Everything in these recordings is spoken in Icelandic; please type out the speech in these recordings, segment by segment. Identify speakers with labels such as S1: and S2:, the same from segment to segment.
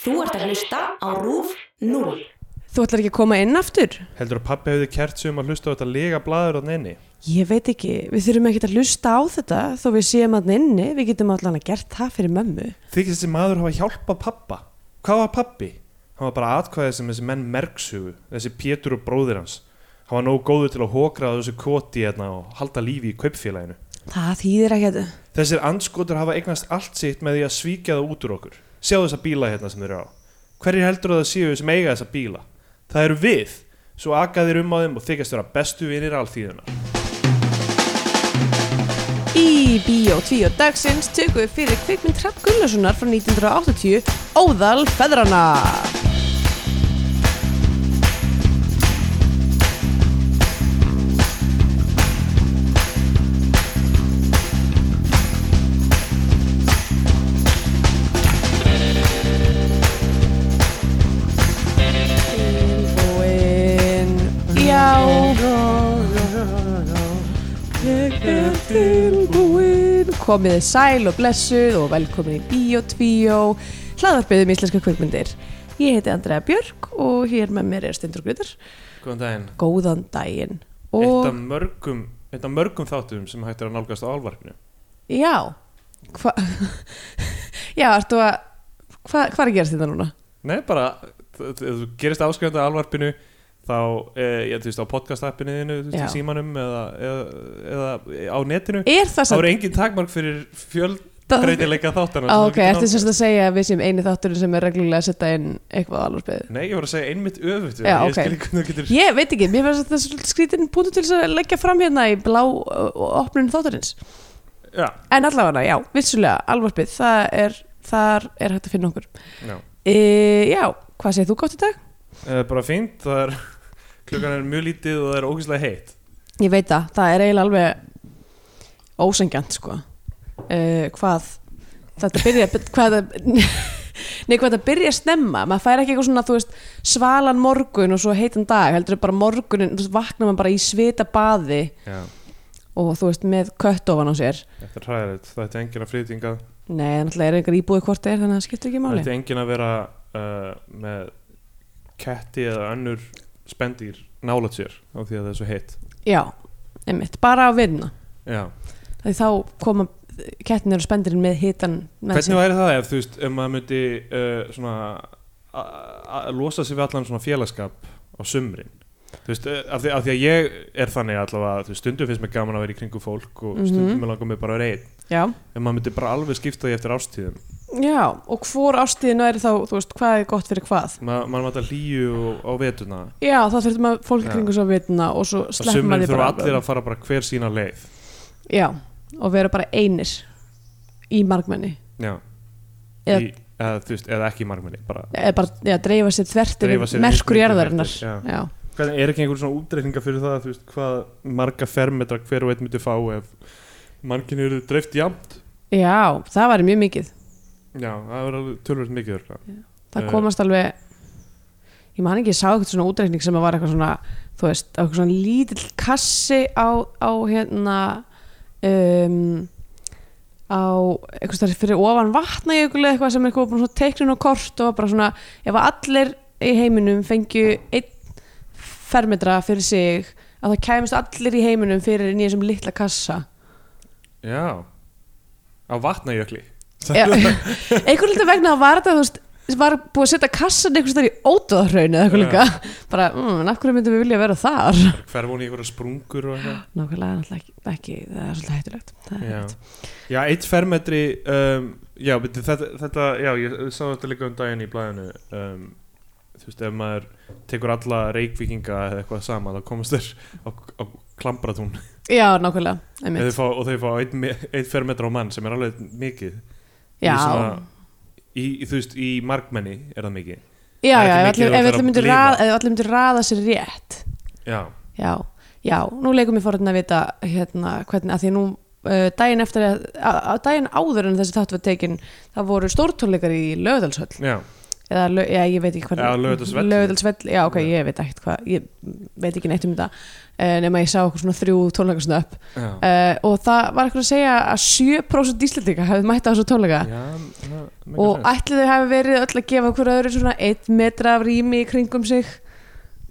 S1: Þú ert að hlusta á RÚF 0.
S2: Þú ætlar ekki að koma inn aftur?
S3: Heldur að pappi hefði kert sig um að hlusta á þetta lega blaður á nenni?
S2: Ég veit ekki, við þurfum ekkert að hlusta á þetta þó við séum að inni, við getum allan að gert það fyrir mömmu.
S3: Þykist þessi maður hafa hjálpað pappa. Hvað var pappi? Hann var bara atkvæðið sem þessi menn merkshugu, þessi Pétur og bróðir hans. Hann var nógu góður til að hókra á þessu koti hérna og halda lífi í kaupfélaginu.
S2: Það þýðir ekki að...
S3: Þessir andskotur hafa eignast allt sitt með því að svíkja það út úr okkur. Sjá þessa bíla hérna sem þeir eru á. Hverjir heldur að það séu sem eiga þessa bíla? Það eru við, svo akaðir um á þeim og þykjast vera bestu vinir alþýðuna.
S2: Í Bíó 2 dagsins tökum við fyrir kvikmynd Trapp Gunnarssonar frá 1980 Óðal Feðrana. Tilbúin, já, Ég er tilbúin Komið sæl og blessuð og velkomin í Bíó 2 Hlaðarpið um íslenska kvikmyndir Ég heiti Andrea Björk og hér með mér er Stendur Grytur
S3: Góðan daginn.
S2: Góðan daginn
S3: Eitt
S2: Og
S3: af mörgum, eitt af mörgum þáttum sem hægt er að nálgast á álvarpinu.
S2: já Hva Já, ertu að hva, Hvað er að gerast þetta núna?
S3: Nei, bara, ef þú gerist áskrifandi á álvarpinu, þá, e, ég þú veist, á podcast appinu þínu, þú veist,
S2: Já.
S3: í símanum eða, eða, eða á netinu,
S2: Er það
S3: þá
S2: samt
S3: eru engin takmark fyrir
S2: Á,
S3: fjöldbreytileika þáttana. sem þú
S2: ok,
S3: getur
S2: ertu
S3: nálgast.
S2: semst að segja að við sem eini þátturinn sem er reglulega að setja inn eitthvað á alvarsbyðu
S3: Nei, ég voru að segja einmitt öfugt,
S2: Já,
S3: ég
S2: ok.
S3: skil ekki hvernig þú getur...
S2: Ég veit ekki, mér finnst þetta svolítið skrítin búinu til þess að leggja fram hérna í blá uh, opnun þátturins
S3: Já,
S2: En allavega, já, vissulega, alvarpið, það er, þar er hægt að finna okkur.
S3: já.
S2: E, já, hvað segir þú gott í dag?
S3: E, bara fínt, það er, klukkan er mjög lítið og það er ógeðslega heitt.
S2: Ég veit það, það er eiginlega alveg ósengjant, sko. E, hvað, þetta byrja, hvað, það- nei, hvað þetta byrja að snemma, maður fær ekki eitthvað svona, þú veist, svalan morgun og svo heitan dag, heldur bara morgunin, þú veist, vaknar maður bara í svita baði
S3: Já,
S2: og þú veist, með kött ofan á sér.
S3: þetta er hræðilegt, það ætti enginn að flytingað.
S2: Nei, náttúrulega er einhver íbúið hvort það er, þannig að það skiptir ekki
S3: Það
S2: máli.
S3: ætti enginn að vera uh, með ketti eða önnur spendýr nálat sér á því að það er svo heitt
S2: Já, einmitt, bara að vinna.
S3: Já.
S2: því þá koma kettinir og spendirinn með hitan með
S3: Hvernig væri það ef þú veist ef maður myndi uh, svona a- a- losa sig við allan svona félagskap á sumrin þú veist, eh, af því, af því að ég er þannig allavega þú veist, stundum finnst mér gaman að vera í kringum fólk og
S2: Mhm.
S3: stundum mér langar mér bara að vera einn
S2: Já.
S3: en maður myndi bara alveg skipta því eftir ástíðum
S2: Já, og hvor ástíðina er þá, þú veist, hvað er gott fyrir hvað?
S3: Ma, maður maður þetta hlýju og- á vetuna
S2: Já, þá þurftum maður fólk í
S3: Já.
S2: kringu svo að vitna og svo
S3: á
S2: sleppum
S3: sumrin
S2: maður
S3: þurfa allir að fara bara hver sína leið
S2: Já, og vera bara einir í margmenni.
S3: Já
S2: Eða-
S3: Í, eða, þú veist, eða ekki í margmenni bara.
S2: Eða bara, já, dreifa sér þvert
S3: Dreifa
S2: yfir
S3: sér yfir
S2: merkur
S3: miklu
S2: jarðarinnar.
S3: merkur, já.
S2: já.
S3: Hvernig, er ekki einhver svona útreikninga fyrir það þú veist, hvað marga fermetra hver og einn myndi fá ef margin eru dreift jafnt
S2: já, það var mjög mikið.
S3: Já, það verður alveg tölvöld mikið örgla.
S2: það
S3: Eh.
S2: komast alveg ég man ekki, ég sá eitthvað svona útreikning sem að var eitthvað svona, þú veist, eitthvað svona lítill kassi á, á hérna um, á eitthvað stærri fyrir ofan vatna eitthvað sem eitthvað var bara svona teiknun og kort og var bara svona, ef að allir í heiminum fengju einn fermetra fyrir sig að það kæmist allir í heiminum fyrir nýjum sem litla kassa
S3: Já Á vatnajökli
S2: Já, einhvern veginn vegna þá var þetta þú veist var búið að setja kassan einhvers þar í ódóðarhraun eða eitthvað
S3: Já.
S2: líka bara, mm, en af hverju myndum við vilja vera þar
S3: Hver hún í einhverja sprungur og eitthvað
S2: nákvæmlega náttúrulega ekki, ekki það er svolítið hættulegt Það er
S3: Já,
S2: rétt.
S3: já eitt fermetri um, Já, beti, þetta, þetta Já, ég sá þetta líka um daginn í blæðinu um, Þú veist, ef maður tekur alla reykvíkinga eða eitthvað sama þá komast þér á, á klambratún
S2: já, nákvæmlega
S3: Eða
S2: einmitt.
S3: þau fá, og þau fá einn, me- einn fermetra á mann sem er alveg mikið
S2: já,
S3: í, svona, í, í- þú veist, í markmenni er það mikið
S2: já,
S3: það er
S2: já, ef
S3: ekki mikið
S2: allir-
S3: að
S2: ef allir
S3: vera að
S2: myndir
S3: lifa.
S2: raða- ef allir myndir raða sér rétt
S3: já,
S2: já, já, nú leikum ég fórhættin að vita hérna, hvernig, að því nú uh, daginn eftir að, að, að daginn áður en þessi þáttu var tekin það voru stórtónleikar í löðalshöll
S3: já,
S2: eða lög, já, ég veit ekki hvað
S3: Eða Laugardalsvellir.
S2: Laugardalsvellir, já ok,
S3: Já.
S2: ég veit ekkert hvað ég veit ekki neitt um þetta eh, nema ég sá okkur svona þrjú tónleikasnöpp
S3: Já.
S2: uh, og það var eitthvað að segja að 7% íslendinga hafði mætt á þessu tónleika
S3: Já, na- mega
S2: og
S3: sens.
S2: ætli þau hafi verið öll að gefa okkur öðru svona 1 metra af rými í kringum sig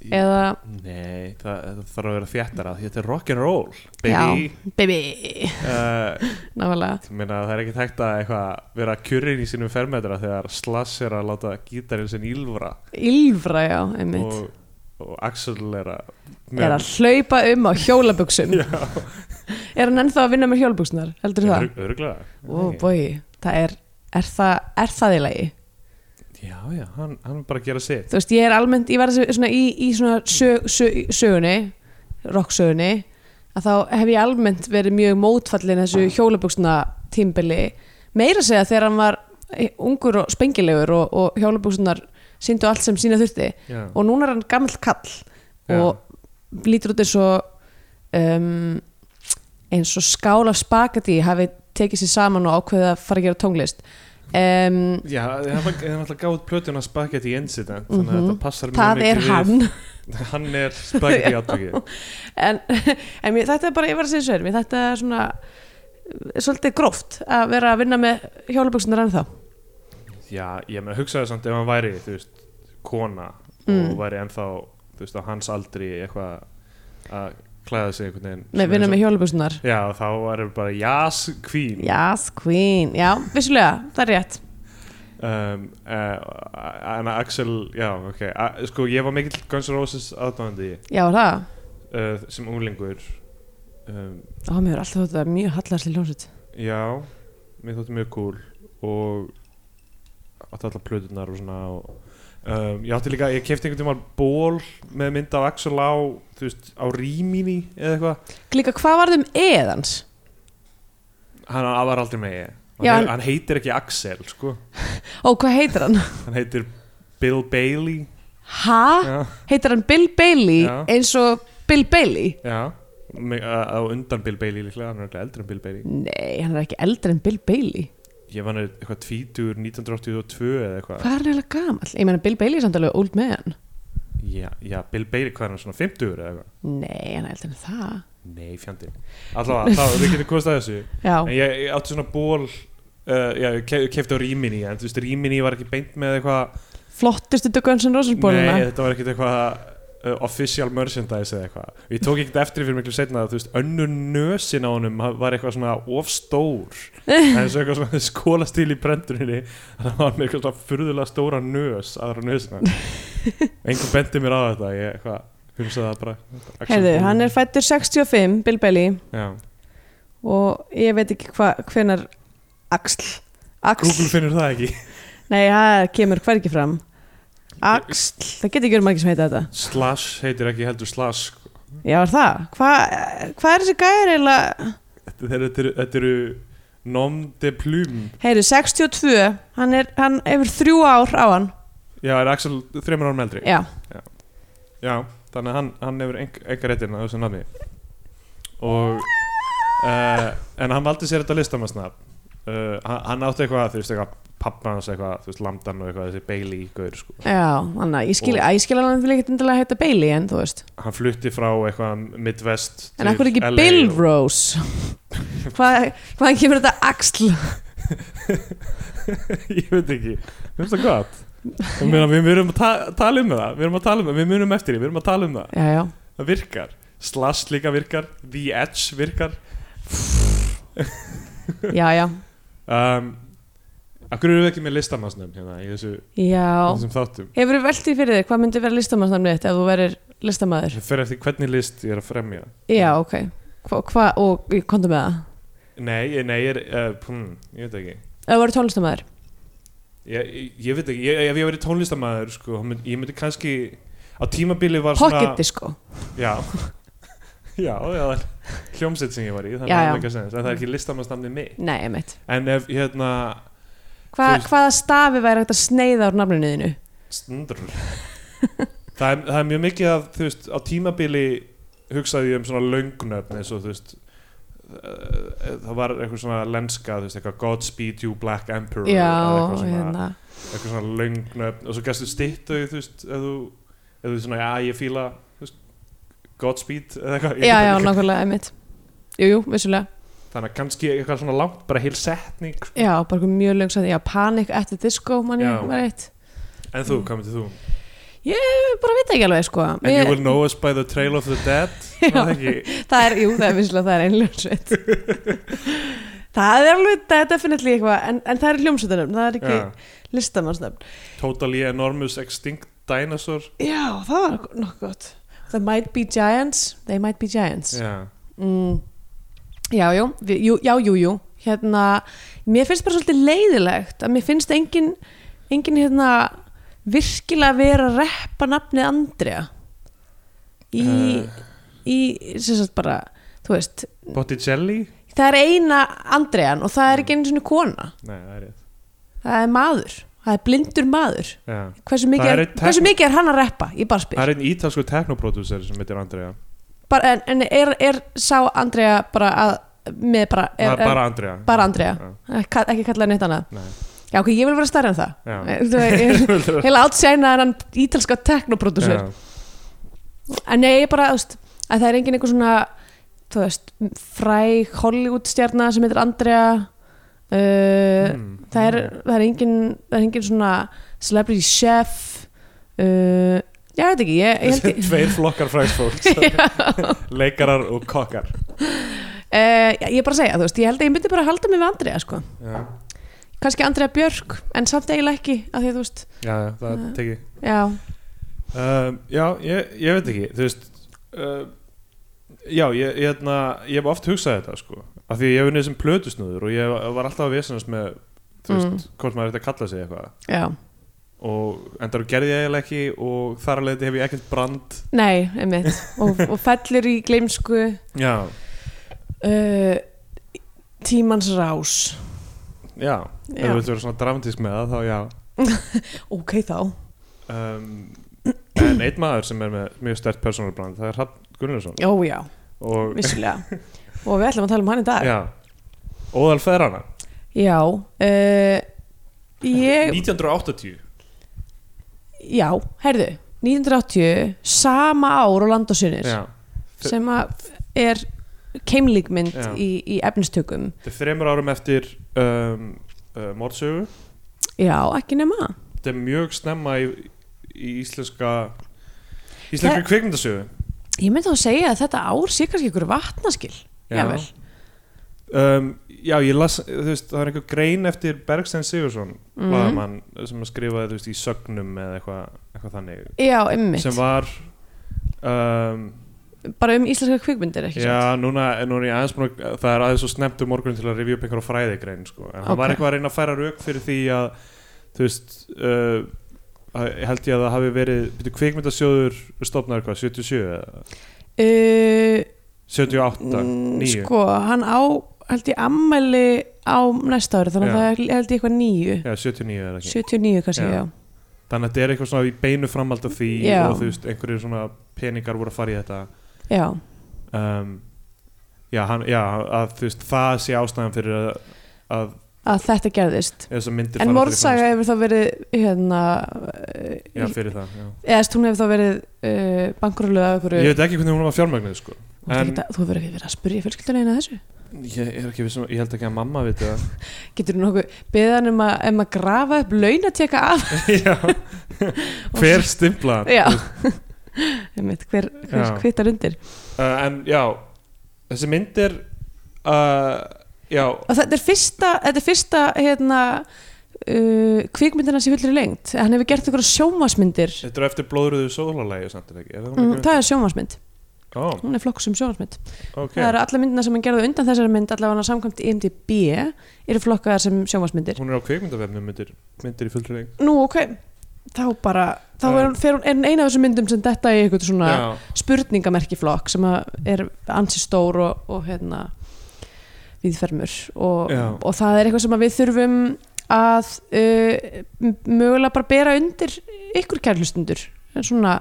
S2: eða,
S3: Nei, það, það þarf að vera þjættara því þetta er rock'n'roll, baby
S2: baby
S3: uh,
S2: návælega,
S3: Ég meina það er ekki tækt að eitthvað vera kjurrin í sínum fermetra þegar Slash er að láta gítarinn sinn ylfra
S2: ylfra já, einmitt
S3: og, og Axel er að
S2: er að hlaupa um á hjólabuxum
S3: Já,
S2: er hann ennþá að vinna með hjólabuxunar, heldur það?
S3: Örg- Örglega
S2: Ó, bói, það er, er það, er það í lagi?
S3: Já, já, hann, hann bara að gera sitt
S2: Þú veist, ég er almennt, ég var þessi- svona í, í svona sög, sög, sögunni, rocksögunni, að þá hef ég almennt verið mjög mótfallin
S3: Mm.
S2: þessu hjólabuxna tímbili, meira að segja þegar hann var eh, ungur og spengilegur og, og hjólabuxnar síndu allt sem sína þurfti
S3: Já,
S2: og núna er hann gamall kall og lítur út eins og um, eins og skála spagati hafi tekið sér saman og ákveðið að fara að gera tónlist um,
S3: já það var alltaf gáð plötuna Spaghetti Incident þannig að
S2: Mhm.
S3: þetta passar mjög
S2: það er
S3: mikið
S2: hann
S3: við Hann er Spaghetti átöki
S2: en, en mér, þetta er bara, ég var að segja sver mér, þetta er svona eh, svolítið gróft að vera að vinna með hjólaböksunar ennþá
S3: Já, ég meina hugsaði samt ef hann væri, þú veist, kona
S2: Mm.
S3: og væri ennþá, þú veist, á hans aldri eitthvað að klæða sig einhvern veginn
S2: með vinna með hjólaböksunar
S3: Já, þá væri bara jazz queen
S2: Yes, queen, já, vissulega, það er rétt
S3: um, uh, En Axel, já, ok a, Sko, ég var mikill Guns N' Roses aðdóðandi
S2: Já, er það,
S3: uh, sem unglingur um,
S2: á mér er alltaf þetta mjög hallarsli ljónsut
S3: Já, mér þótti mjög cool og átti allar plöðunar og svona og, um, ég átti líka, ég kefti einhvern tímann ból með mynd af Axel á þú veist, á rýminni eða eitthvað
S2: Líka, hvað varð um eðans?
S3: hann hann var aldrei með ég hann,
S2: Já,
S3: he-
S2: hann-
S3: hann heitir ekki Axel, sko
S2: Ó, hvað heitir hann?
S3: hann heitir Bill Bailey
S2: Hæ?
S3: Já,
S2: heitir hann Bill Bailey
S3: Já.
S2: eins og Bill Bailey
S3: já Mig- á á undan Bill Bailey líklega, hann er eitthvað eldri en Bill Bailey
S2: nei, hann er ekki eldri en Bill Bailey
S3: ég var hann eitthvað tvítur 1982 eða eitthvað
S2: hvað er hann eiginlega gamall? ég meina Bill Bailey er samt alveg old man
S3: já, já, Bill Bailey, hvað er hann svona 50 eða eitthvað
S2: nei, hann er eldri en það
S3: nei, fjandi allavega, þá, við getum kostað þessu En
S2: já,
S3: ég, ég átti svona ból uh, Já, ég kef, kefti á rýminni En þú veist, rýminni var ekki beint með eitthvað
S2: flottustu Guns N' Roses
S3: Nei,
S2: bóluna
S3: þetta var ekkert eitthvað uh, Official merchandise eða eitthvað Og Ég tók ekkert eftir fyrir miklu setna Þú veist, önnur nösin á honum ha- var eitthvað svona Ofstór Það er svo eitthvað svona skólastíl í brenduninni Þannig að hann var með eitthvað svona furðulega stóra nös Aðra nösina Engum bendi mér á þetta Ég eitthvað, humsaði það bara Axel
S2: heyrðu,
S3: Bóli.
S2: hann er fættur 65 Bill Bailey
S3: Já,
S2: og ég veit ekki hva, hvenar Axl Axl,
S3: Google finnur það ekki
S2: nei, það kemur hvergi fram Axl, það getur ekki verið margir sem heita þetta
S3: Slash heitir ekki heldur slash sko.
S2: já, er það, hvað hva er þessi gæri eiginlega
S3: Þetta eru- þetta eru- þetta eru nom de plume
S2: Heyri, 62, hann er hann hefur þrjú ár á hann
S3: Já, er Axel þreymur árum eldri
S2: Já,
S3: Já, þannig að hann, hann hefur enga réttin að hérna þessu nafni Og uh, En hann valdi sér þetta listamannsnafn uh, hann, hann átti eitthvað, þú veist eitthvað Pappa hans eitthvað, þú veist, Lamdan og eitthvað Þessi Bailey gaur, sko
S2: já, þannig að ég skil, að ég skil alveg fyrir ekkert endilega að heita Bailey en þú veist
S3: Hann flutti frá eitthvað Midwest
S2: En akkur ekki
S3: LA
S2: Bill
S3: og-
S2: Rose Hvað, Hvaðan kemur þetta Axl?
S3: Ég veit ekki, finnst það gott Ég meina, Við erum að ta tala um það Við erum að tala um það, við munum eftir því, við erum að tala um það
S2: Já, já,
S3: það virkar Slash líka virkar, The Edge virkar
S2: já, já
S3: um, Akkur eru við ekki með listamannsnöfn hérna í þessu,
S2: Já,
S3: þessum þáttum
S2: hefur við veltið fyrir þig hvað myndi vera listamannsnamnið þitt ef þú verir listamæður?
S3: Það fer eftir hvernig list ég er að fremja
S2: Já, ok Hva, hva og ég komdu með það
S3: Nei, ég- nei, ég er, uh, hmm, ég veit ekki
S2: Ef þú verið tónlistamæður?
S3: Ég, ég, ég veit ekki, ég, ef ég verið tónlistamæður sko, þá mynd, ég myndi kannski á tímabili var
S2: Pocket disco
S3: Já Já, já, það er hljómsett sem ég var í þannig
S2: Já, já.
S3: að það er ekki sens, en það er ekki listamannsnafni mitt
S2: Nei, emitt
S3: En ef hérna
S2: Hva,
S3: Þú veist-
S2: Hvaða stafi væri hægt að sneiða úr nafninu þínu?
S3: Sndur það, er, það er mjög mikið að þú veist á tímabili hugsaði ég um svona löngnöfn eins og þú veist eh, það var eitthvað svona lenska þú veist eitthvað Godspeed you black emperor
S2: Já,
S3: eða eitthvað svona,
S2: hérna
S3: eitthvað svona löngnöfn og svo gæstu stittu þú veist ef þú, ef þú svona, já ég fíla þú veist, Godspeed eða eitthvað ég
S2: já,
S3: veit
S2: já,
S3: ekki.
S2: nákvæmlega, einmitt jú, jú, vissulega
S3: þannig að kannski eitthvað svona langt bara heil setning sko.
S2: já, bara eitthvað mjög lög sæti, já, Panic at the Disco man
S3: Já.
S2: ég var eitt,
S3: en þú, hvað myndir þú?
S2: ég bara veit ekki alveg sko
S3: And you
S2: Mm. Mér-
S3: will know us by the trail of the dead
S2: Já.
S3: var það ekki,
S2: það er, jú, það er vissulega, það er einn hljómsveit það er alveg, það er definitely eitthvað en, en það er hljómsveitunum, það er ekki
S3: já,
S2: listamannsnöfn
S3: totally enormous extinct dinosaur
S2: já, það var nokkuð gott They might be giants, they might be giants
S3: já,
S2: mm, já, jú, við, jú, já, jú, jú hérna, mér finnst bara svolítið leiðilegt að mér finnst engin engin hérna virkilega vera að reppa nafnið Andrea í,
S3: Eh.
S2: í sem sagt bara, þú veist
S3: Botticelli
S2: það er eina Andrean og það er ekki einu svona kona
S3: nei, það er rétt
S2: það er maður, það er blindur maður
S3: já.
S2: hversu mikið,
S3: Það
S2: er,
S3: er einn
S2: hversu
S3: tekn-
S2: mikið er hann að reppa ég bara
S3: það
S2: spyr
S3: er einn ítalsku teknoproducer sem heitir Andrea
S2: bara, en, en er, er sá Andrea bara að með bara, er,
S3: það er bara Andrea
S2: bara Andrea.
S3: Já,
S2: er, ka- ekki kallað neitt annað
S3: nei.
S2: já ok, ég vil vera stærri en það Eh,
S3: Já.
S2: Þú veist, ég- heila átsæna en hann ítalska teknoproducer
S3: Já.
S2: en nei, ég bara, þú veist, að það er engin einhver svona þú veist, fræg Hollywood stjarnar sem heitir Andrea uh,
S3: Mm.
S2: það er, það er engin það er engin svona celebrity chef uh, já, ég veit ekki ég, ég held ekki
S3: tveir flokkar fræsfólks leikarar og kokkar
S2: uh, já, ég er bara að segja, þú veist, ég held að ég myndi bara halda mig við Andrea, sko,
S3: já,
S2: kannski Andrea Björk en samt eiginlega ekki, af því að þú veist
S3: já það er tekið
S2: já,
S3: um, Já, ég, ég veit ekki Þú veist uh, Já, ég, ég, hefna, ég hef oft hugsað þetta sko, af því ég hef unnið sem plötusnúður og ég var alltaf að vesanast með þú veist,
S2: Mm.
S3: hvort maður er þetta að kalla sig eitthvað
S2: já,
S3: og endar og gerði ég eiginlega ekki og þar alveg hef ég ekkert brand
S2: nei, einmitt og, og fellur í gleimsku
S3: Já,
S2: uh, tímans rás
S3: já, ef
S2: Já.
S3: þú vilt vera svona dramatísk með það þá já
S2: ok þá
S3: um, En einn maður sem er með mjög stert personal brand, það er Hrafn Gunnarsson
S2: Ó já,
S3: og
S2: vissulega Og við ætlum að tala um hann í dag Já,
S3: já, óðal feðrana
S2: uh, ég,
S3: 1980
S2: já, herðu 1980, sama ár og land og sinir
S3: Já
S2: sem að er keimlíkmynd
S3: Já.
S2: í, í efnistökum
S3: Þetta er þremur árum eftir um, uh, Mórsögu
S2: Já, ekki nema
S3: Þetta er mjög snemma í, í íslenska Íslenska
S2: Það-
S3: kvikmyndasögu
S2: Ég myndi þá að segja að þetta ár sé kannski ykkur vatnaskil Jafnvel.
S3: um, Já, ég las þú veist, Það er einhver grein eftir Bergstein Sigursson
S2: Mhm.
S3: Blaðamann sem skrifaði þú veist, í sögnum eða eitthvað eitthva þannig
S2: Já, einmitt,
S3: sem var um,
S2: bara um íslenska kvikmyndir ekki satt?
S3: Já, núna, núna er ég aðeins búin að það er aðeins svo snemt um morgunin til að rifja upp einhverja fræðigrein sko. en hann var
S2: Ok.
S3: eitthvað að reyna að færa rauk fyrir því að þú veist uh, að- held ég að það hafi verið byrju, kvikmyndasjóður stofnaður hvað, 77 eða
S2: uh,
S3: 78,
S2: mm,
S3: 9
S2: Sko, hann á, held ég, ammæli á næsta ári Þannig að
S3: Já.
S2: það er, held ég, eitthvað nýju
S3: Já, 79 eða ekki
S2: 79 kannski,
S3: Já.
S2: já.
S3: Þannig að þetta er eitthvað svona í beinu framhald af því
S2: Já.
S3: og þú veist, einhverjir svona peningar voru að fara í þetta
S2: Já,
S3: um, Já, hann, já að, þú veist, það sé ástæðan fyrir að, að
S2: að þetta gerðist
S3: þessar
S2: En
S3: myndir fara fyrir
S2: morðsaga hefur þá verið hérna, eh,
S3: framhald- Já, fyrir það, já
S2: eða þú veist, hún hefur þá verið uh, bankrúlega af einhverju
S3: Ég veit ekki hvernig hún var fjármögnuð sko.
S2: Þú ert
S3: en-
S2: ekkert að- Þú hefur ekki verið að spyrja fjölskyldunni eina þessu
S3: Ég er ekki vissum, ég held ekki að mamma viti það
S2: Getur þú nokkuð beðan um að, um að grafa upp launatjekka af
S3: Já Hver stimpla hann?
S2: Já Einmitt, Hver, hver
S3: Já.
S2: kvittar undir
S3: uh, En já, þessi mynd er uh, Já,
S2: Og þetta er fyrsta, þetta er fyrsta hérna, uh, kvikmyndina sem fyllir í lengt Hann hefur gert ykkur sjómasmyndir
S3: þetta er eftir blóðröðu sólalægi samt er ekki er það,
S2: mm, Það er sjómasmynd,
S3: Ó,
S2: hún er flokkur sem sjómasmynd
S3: ok
S2: Það eru alla myndina sem hann gerði undan þessari mynd allavega hann samkvæmt IMDB eru flokkaðar sem sjómasmyndir
S3: Hún er á kveikmyndavefnum myndir, myndir í fullri leng
S2: Nú ok, þá bara þá er hún, fer hún er hún eina af þessum myndum sem detta í eitthvað svona
S3: Já,
S2: spurningamerki flokk sem að er ansi stór og, og hérna viðfermur og,
S3: Já.
S2: og það er eitthvað sem að við þurfum að uh, m- mögulega bara bera undir ykkur kærlustundur svona,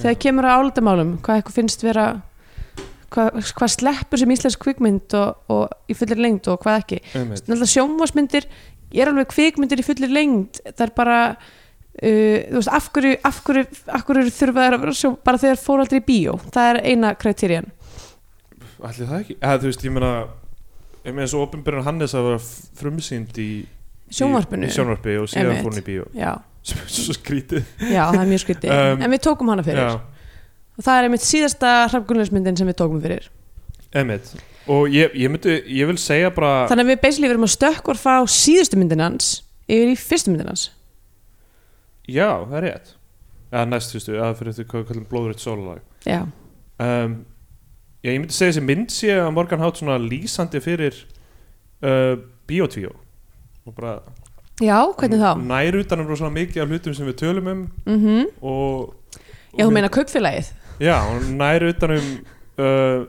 S2: þegar
S3: Já.
S2: kemur að álitamálum hvað eitthvað finnst vera hvað, hvað sleppur sem íslensk kvikmynd og, og í fullir lengd og hvað ekki
S3: einmitt
S2: náttúrulega sjónvarsmyndir ég er alveg kvikmyndir í fullir lengd það er bara uh, þú veist, af hverju, af hverju, af hverju þurfa þær að vera sjó, bara þegar fór aldrei í bíó það er eina kriterjan
S3: Ætli það ekki? Eða þú veist, ég meina ég meina svo opinbyrjun Hannes að vera frumsýnd í
S2: sjónvarpinu
S3: í, í sjónvarpi og síðan
S2: Einmitt.
S3: fór hún í bíó
S2: já,
S3: Svo- svo skrítið
S2: já, það er mjög skrítið
S3: Um,
S2: en við tókum hana fyrir
S3: Já,
S2: og það er einmitt síðasta hrafgunleismyndin sem við tókum fyrir
S3: emitt og ég, ég myndi, ég vil segja bara
S2: þannig að við basically verum að stökkvar frá síðustu myndin hans yfir í fyrstu myndin hans
S3: já, það er rétt eða næst, þú veist, eða fyrir þetta hvað við kallum blóðrætt sólalag
S2: já,
S3: um, já, ég myndi segja þessi mynd sé að Morgan Hátt svona lýsandi fyrir uh, bíotvíó og bara
S2: já hvernig þá?
S3: nær utanum rosalega mikið af hlutum sem við tölum um
S2: Mm
S3: og
S2: já, þú meina kaupfélagið
S3: já, hún nær utanum uh,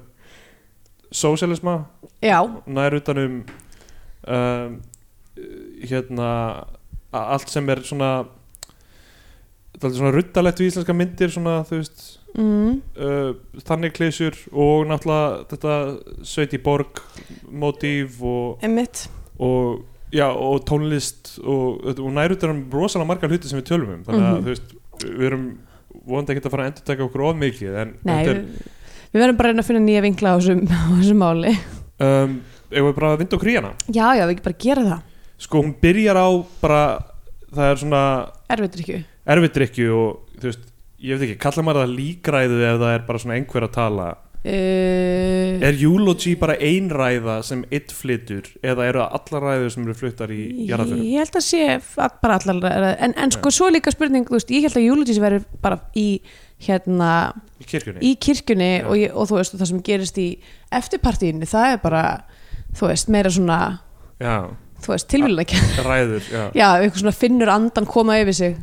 S3: sósialisma
S2: já,
S3: nær utanum um, hérna a- allt sem er svona það er svona ruttalegt við íslenska myndir svona þú veist
S2: mm,
S3: uh, þannig klísjur og náttúrulega þetta sveiti borg mótíf og,
S2: einmitt
S3: og já og tónlist og, og nær utanum rosalega margar hluti sem við tölum um þannig að
S2: Mhm.
S3: þú veist við erum vonandi ekkert að fara að endur taka okkur of mikið en
S2: Nei,
S3: þetta er-
S2: við, við verðum bara að reyna að finna nýja vinkla á þessum, á þessum máli
S3: um, ef við bara að vinda okkur í hana
S2: Já, já, við ekki bara gera það
S3: sko hún byrjar á bara það er svona
S2: Erfitt er ekki
S3: erfidrykju og þú veist ég veit ekki, kallar maður það líkræðu ef það er bara svona einhver að tala
S2: uh,
S3: er eulogy bara einræða sem eitt flytur eða eru það allar ræður sem eru fluttar í jarðaförum
S2: Ég held að sé að bara allar ræða- en, en sko, svo er líka spurning, þú veist, ég held að Júlítis verður bara í hérna,
S3: í kirkjunni
S2: í kirkjunni
S3: Já.
S2: og, ég, og þú veist, og það sem gerist í eftirpartíinu, það er bara þú veist, meira svona
S3: já,
S2: þú veist, tilvílulega
S3: ræður já.
S2: Já, eitthvað svona finnur andan koma yfir sig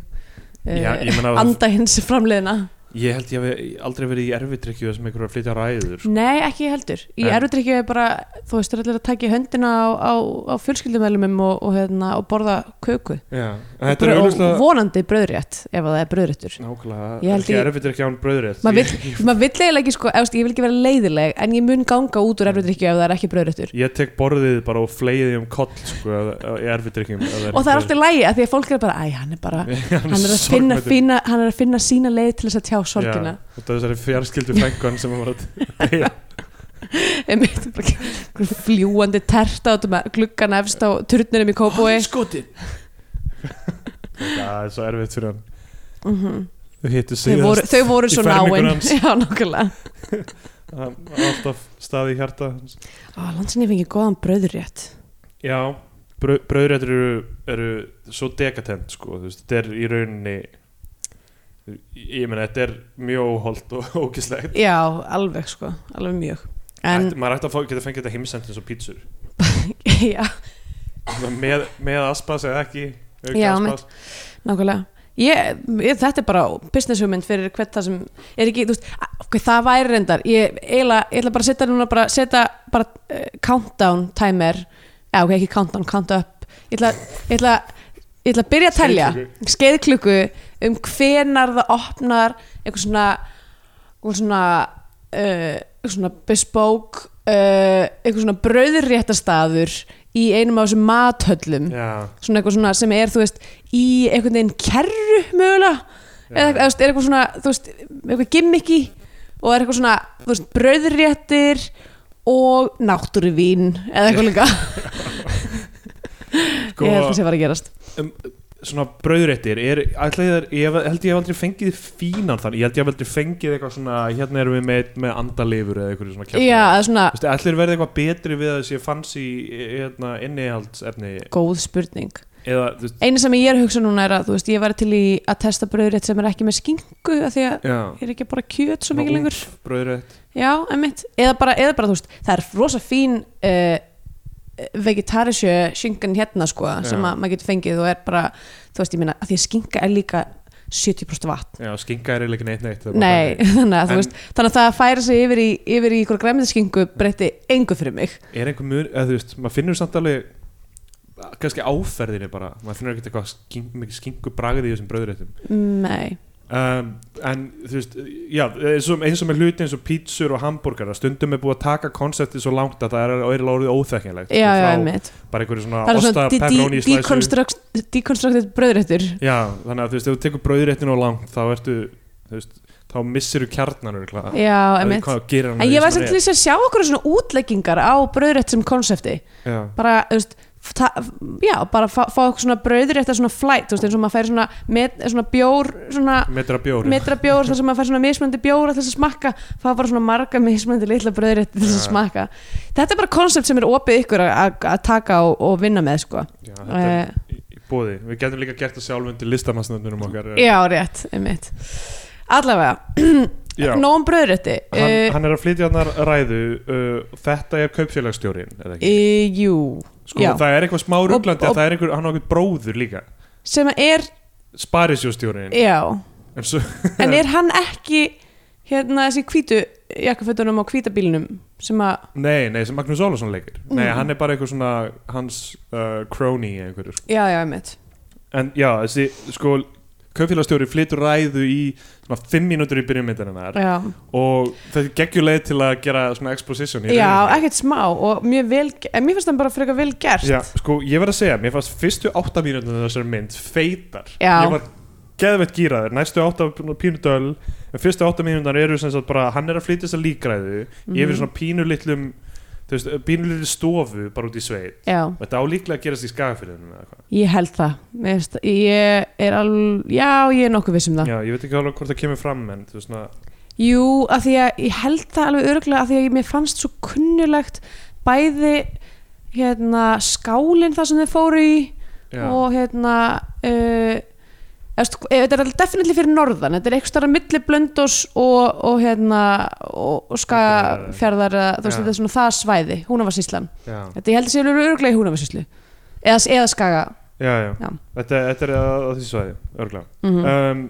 S3: Já,
S2: Eh,
S3: ég meina að-
S2: anda hins framleiðina
S3: ég held ég hef aldrei verið í erfidrykju sem einhver er að flytja ræður sko.
S2: Nei, ekki heldur. Í
S3: En-
S2: erudrykju er bara, þú veist, þú er allir að taka í höndina á, á, á fjölskyldumælumum og, og, hérna, og borða köku.
S3: já, en þetta er
S2: Brau- og
S3: auðvitað
S2: vonandi bröðrétt, ef að það er bröðréttur.
S3: nákvæmlega,
S2: Ég
S3: það er
S2: held
S3: ekki
S2: ég-
S3: erfidrykja án bröðrétt
S2: Maður
S3: ég,
S2: vill, mað vill eiginlega ekki, sko, eftir, ég vil ekki vera leiðileg, en ég mun ganga út úr erudrykju ef það er ekki bröðréttur.
S3: ég tek borðið bara og fleiði um koll sko, ef- ef- í erfidrykjum ef
S2: Og það er alltaf lægi, af því að fólk er bara, æ, hann er bara, hann er að finna, finna, hann er að finna sína leið til þess að tjá sorgina.
S3: og það er þessari fjarskildu fengun sem hann var að deyja
S2: Einmitt, bara einhver fljúandi terta út um gluggan efst á turninum í kópói.
S3: skotið það er svo erfitt fyrir hann
S2: Mm
S3: þau hittu
S2: þau, voru,
S3: síðast
S2: þau voru
S3: í
S2: svo
S3: fermingu
S2: náinn.
S3: hans.
S2: Já, nokkulega.
S3: Hann á alltaf staði í hjarta hans.
S2: Á, landsinni fengið góðan bröðurétt.
S3: já, brau- brauðréttur eru, eru svo dekadent sko, þú veist, þetta er í rauninni ég meina, þetta er mjög óholt og ókislegt
S2: Já, alveg sko, alveg mjög. En,
S3: Ætti- maður ætti að fá, geta fengið þetta heimsend eins og pítsur
S2: já,
S3: með, með aspas eða ekki auka
S2: Já,
S3: aspas.
S2: nákvæmlega. Ég, ég, þetta er bara businesshugmynd fyrir hvert það sem er ekki, þú veist, okay, það væri reyndar ég, eiginlega, ég ætla bara að setja núna bara, setja bara uh, countdown timer eða ok, ekki countdown, count up ég ætla, ég ætla, ég ætla að byrja að telja skeiðklukku um hvenar það opnar eitthvað svona eitthvað svona, uh, eitthvað svona bespoke uh, eitthvað svona brauðréttastaður í einum af þessum mathöllum
S3: já,
S2: svona eitthvað svona sem er þú veist í einhvern veginn kerru mögulega eða eða, þú veist, er eitthvað svona þú veist, eitthvað gimmiki og er eitthvað svona þú veist, brauðréttir og náttúruvín eða eitthvað líka
S3: Sko-
S2: ég held að sé var að gerast
S3: svona brauðréttir er, ætla ég, þær- ég hef- held ég hef aldrei fengið fínan þann, ég held ég hef aldrei fengið eitthvað svona hérna erum við með, með andalifur eða eitthvað svona
S2: já, eða svona
S3: Vistu, ætlir verði eitthvað betri við að þessi fanns í hérna, innihaldsefni
S2: góð spurning
S3: eða þú veist
S2: eina sem ég er að hugsa núna er að þú veist, ég var til í að testa brauðrétt sem er ekki með skingu af því að
S3: já,
S2: ég er ekki bara kjöt svo mikið lengur
S3: brauðrétt
S2: Já, einmitt, eða bara, eða bara þú veist það er rosa fín uh, vegetarisjö skinkan hérna sko, sem
S3: Já.
S2: að maður getur fengið og er bara, þú veist, ég meina, að því að skinka er líka 70% vatn
S3: já, skinka er eiginlega ekki neitt neitt það er bara
S2: Nei,
S3: þannig.
S2: þannig að, þú
S3: En-
S2: veist, þannig að það að færa sig yfir í, yfir í ykkur græmiðskingu breytti engu fyrir mig
S3: er einhver mun, eða þú veist, maður finnur samt alveg kannski áferðinni bara maður finnur ekkert eitthvað skink, mikið skinku bragði í þessum brauðréttum
S2: Nei,
S3: um, en þú veist já, eins og, eins og með hluti eins og pítsur og hambúrgar stundum er búið að taka konseptið svo langt að það er eiginlega orðið óþekkinlegt
S2: já, já,
S3: Frá
S2: einmitt
S3: bara einhverju svona
S2: það er
S3: osta,
S2: svona de-
S3: pepperoni
S2: de-
S3: slæsu
S2: deconstruct- deconstructed bröðrættur
S3: já, þannig að þú veist, ef þú tekur brauðréttin og langt þá ertu, þú veist, þá missiru kjarnar örgulega
S2: já, einmitt
S3: en
S2: en ég var sem til þess að sjá okkur svona útleggingar á bröðrætt sem konsepti
S3: já,
S2: bara, þú veist ta- já, bara fá, fá okkur svona bröðrétta svona flight, þú veist, eins og maður fær svona, met, svona bjór, svona
S3: metra bjóri
S2: metra bjór þar sem maður fær svona mismöndi bjór alltaf þess að smakka, fá bara svona marga mismöndi litla bröðrétta þess að
S3: Ja.
S2: smakka þetta er bara konsept sem er opið ykkur að- að að taka og, og vinna með, sko
S3: já, þetta er
S2: uh,
S3: í- í bóði, við getum líka gert það sjálf undir listamannsnöfnunum okkar
S2: já, rétt, einmitt allavega,
S3: Já.
S2: nóg um bröðrétti
S3: hann,
S2: Eh,
S3: hann er að flytja hann ræðu uh, þetta er kaupfélagsstjórin eða ekki?
S2: eh, jú,
S3: sko,
S2: já.
S3: það er eitthvað smá ruglandi
S2: Og-
S3: að það er einhver, hann á einhver bróður líka
S2: sem er,
S3: sparisjóstjórin
S2: já
S3: en svo,
S2: En er hann ekki hérna þessi hvítu jakkafötunum og hvítabílnum sem að,
S3: nei, nei, sem Magnús Ólason leikir
S2: Mm.
S3: nei, hann er bara einhver svona hans uh, crony eða einhverju sko.
S2: já, já, ég mitt
S3: en já, þessi, sko kaupfélagsstjóri flytur ræðu í svona, fimm mínútur í byrjumyndarinnar
S2: Já,
S3: og þetta er geggjuleið til að gera svona exposition í
S2: já
S3: rauninni.
S2: ekkert smá og mjög vel, en mér finnst hann bara frekar vel gert
S3: Já, sko, ég verð að segja, mér fannst fyrstu átta mínútur þessar mynd feitar
S2: Já.
S3: Ég var geðveitt gíraður, næstu átta pínu döl En fyrstu átta mínútur eru sem sagt bara, hann er að flytja þess að líkræðu
S2: Mhm.
S3: Yfir svona pínu litlum, þú veist, pínu litlum stofu bara út í sveit
S2: Já,
S3: Þetta á líklega að gerast í skagafyrðinu eða eitthvað
S2: ég held það Mér finnst- Ég er alveg, já, ég er nokkuð viss um það
S3: Já, ég veit ekki alveg hvort það kemur fram en þú veist svona
S2: Jú, af því að ég held það alveg örglega af því að ég, mér fannst svo kunnulegt bæði hérna skálinn það sem þið fóru í
S3: Já,
S2: og hérna uh, eftir, þetta er alveg definitely fyrir norðan þetta er eitthvað starf milli blöndos og, og hérna og, og skagafjörðar þú veist
S3: Já.
S2: þetta er svona það svæði húnavasíslan,
S3: já,
S2: þetta ég held að sé öruglega í húnavasíslu eða, eða skaga
S3: já, já.
S2: Já.
S3: Þetta, þetta er að, að því svæði, örglega
S2: mm
S3: um,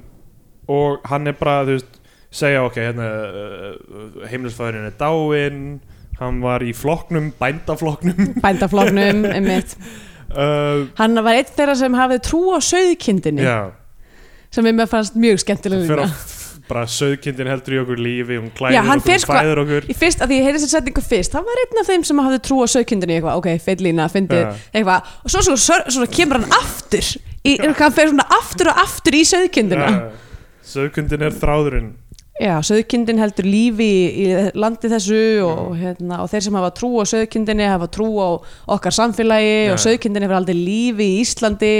S3: og hann er bara þú veist, segja ok hérna, uh, heimlisfæðurinn er dáinn hann var í flokknum, bændaflokknum
S2: bændaflóknum einmitt.
S3: uh,
S2: hann var eitt þeirra sem hafið trú á söðkindinni
S3: já,
S2: sem ég með fannst mjög skemmtilega
S3: hann fer
S2: lína
S3: að bara söðkindin heldur í okkur lífi hún
S2: Já,
S3: klæðir
S2: hann fer
S3: okkur, hún
S2: sko-
S3: fæðir okkur
S2: Í fyrst, að því ég heyrði þessar setningu fyrst, hann var einn af þeim sem hafði trú á sökindinni eitthvað, ok, feit lína, fyndið
S3: Ja.
S2: eitthvað, og svo, svo, svo, svo kemur hann aftur, í, hann fer svona aftur og aftur í sökindina.
S3: Já, söðkindin er þráðurinn
S2: Já, sökindin heldur lífi í, í landi þessu og, hérna, og þeir sem hafa trú á sökindinni hafa trú á okkar samfélagi
S3: Ja.
S2: og sökindin hefur aldrei lífi í Íslandi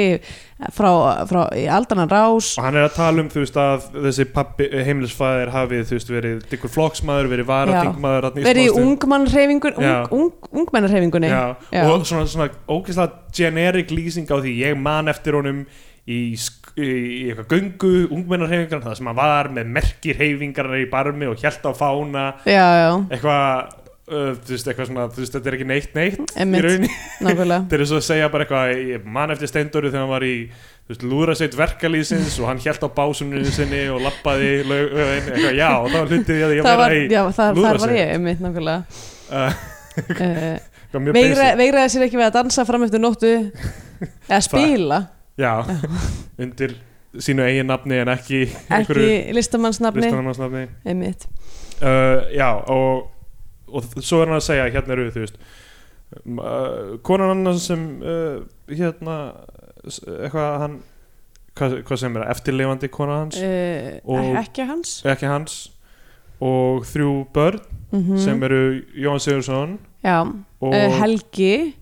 S2: frá, frá í aldanan rás.
S3: og hann er að tala um þú veist að þessi pappi, heimlisfæðir hafi þú veist verið dykkur flokksmaður, verið varatingmaður þarna í
S2: Verið í
S3: smástund.
S2: ungmannhreyfingun,
S3: Já.
S2: ung, ung, ungmennarhreyfingunni.
S3: já, og svona, svona ógeðslega generic lýsing á því ég man eftir honum í, sk- í eitthvað göngu ungmennarhefingar það sem hann var með merkir hefingar í barmi og hjælt á fána
S2: já, já,
S3: eitthvað uh, þú veist, eitthvað svona, þú veist, þetta er ekki neitt neitt
S2: Einmitt.
S3: í rauninni,
S2: nákvæmlega.
S3: þetta er svo að segja bara eitthvað ég man eftir Steindóru þegar hann var í þú veist, lúðrasveit verkalýsins og hann hjælt á básuninu sinni og lappaði lögin, eitthvað, já, og það var hlutið í að ég
S2: það var,
S3: vera í
S2: já, þar, þar var
S3: lúðrasveit.
S2: ég einmitt nákvæmlega
S3: uh,
S2: uh,
S3: eitthvað mjög
S2: veigra,
S3: basic.
S2: veigraði sér ekki við að dansa fram eftir nóttu eða spila
S3: Já, undir sínu eigin nafni en ekki
S2: ekki listamannsnafni
S3: listamannsnafni
S2: einmitt
S3: uh, Já, og, og þ- svo er hann að segja hérna eru þú veist um, uh, konan annars sem uh, hérna s- eitthvað hann hvað, hvað sem er það, eftirlifandi konan hans
S2: uh,
S3: Og-
S2: ekki hans
S3: ekki hans og þrjú börn
S2: mm
S3: sem eru Jóhann Sigursson
S2: já,
S3: og
S2: uh, Helgi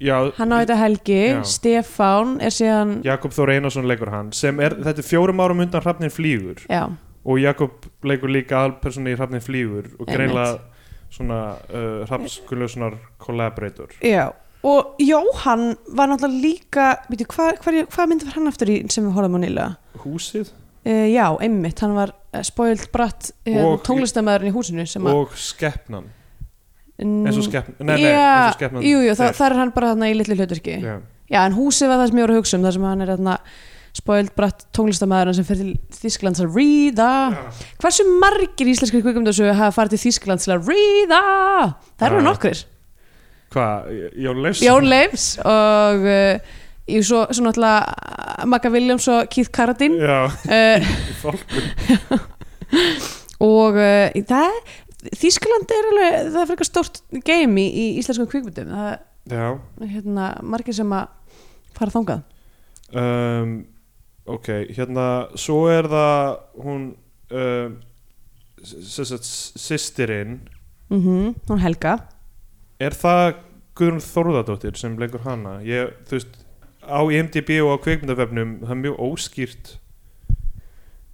S3: já,
S2: hann á þetta Helgi,
S3: Já.
S2: Stefán er síðan já,
S3: Jakob Þór Einarsson leikur hann sem er, þetta er fjórum árum undan hrafnin flýgur og Jakob leikur líka alpersonu í Hrafnin Flýgur og
S2: Einmitt.
S3: greinlega svona uh, Hrafns Gunnlaugssonar collaborator
S2: já. og Jóhann var náttúrulega líka veitir, hvað hva, hva myndi var hann aftur í sem við horfum á nýlega
S3: húsið
S2: Uh, já, einmitt, hann var eh, spoilt bratt uh,
S3: Og-
S2: tónlistamæðurinn í húsinu sem að
S3: og skepnan eins og
S2: Mm,
S3: skepnan, nei, nei,
S2: Já,
S3: eins og skepnan
S2: jú, jú, það, það er hann bara þarna í litlu hluturki
S3: Já,
S2: já, en húsið var það sem ég voru að hugsa um þar sem hann er þarna spoilt bratt tónlistamæðurinn sem fer til Þísklands að ríða hversu margir íslenskir kvikumdöðsögu hafa farið til Þísklands til að ríða það eru
S3: Já.
S2: nokkrir
S3: hvað, Jón Leifs
S2: Jón Leifs og uh, Jú, svo, svo náttúrulega eh, Magga Williams og Keith Carradine
S3: Já,
S2: uh,
S3: í fólku
S2: og uh, það, Þískaland er alveg það er frekar stórt game í, í íslenskum kvikmyndum það
S3: Já,
S2: er hérna margir sem að fara þangað
S3: um, ok, hérna svo er það hún um, sýstirinn
S2: mm hún Helga
S3: er það Guðrún Þórðardóttir sem leikur hana ég, þú veist, á IMDb og á kveikmyndavefnum það er mjög óskýrt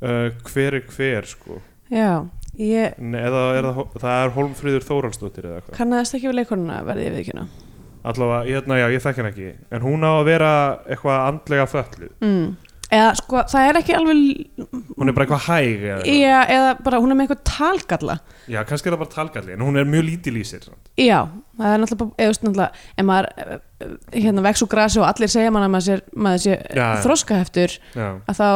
S3: uh, hver er hver sko
S2: já, ég
S3: Nei, eða er það, það er Holmfríður Þóraldsdóttir eða eitthvað
S2: kannaðist ekki við leikonuna verði ég viðkjöna
S3: allavega, hérna, já, ég þekki hann ekki en hún á að vera eitthvað andlega föllu
S2: mm. eða sko, það er ekki alveg
S3: hún er bara eitthvað hæg eða, eitthvað.
S2: eða, eða bara hún er með eitthvað talgalla
S3: já, kannski er það bara talgalli en hún er mjög lítil í sér samt.
S2: Já, það er náttúrulega, bara- eða þú veist náttúrulega ef maður eh, hérna vex úr grasi og allir segja mann að maður sé, maður sé
S3: Já,
S2: já,
S3: já.
S2: þroskaheftur
S3: Já.
S2: að þá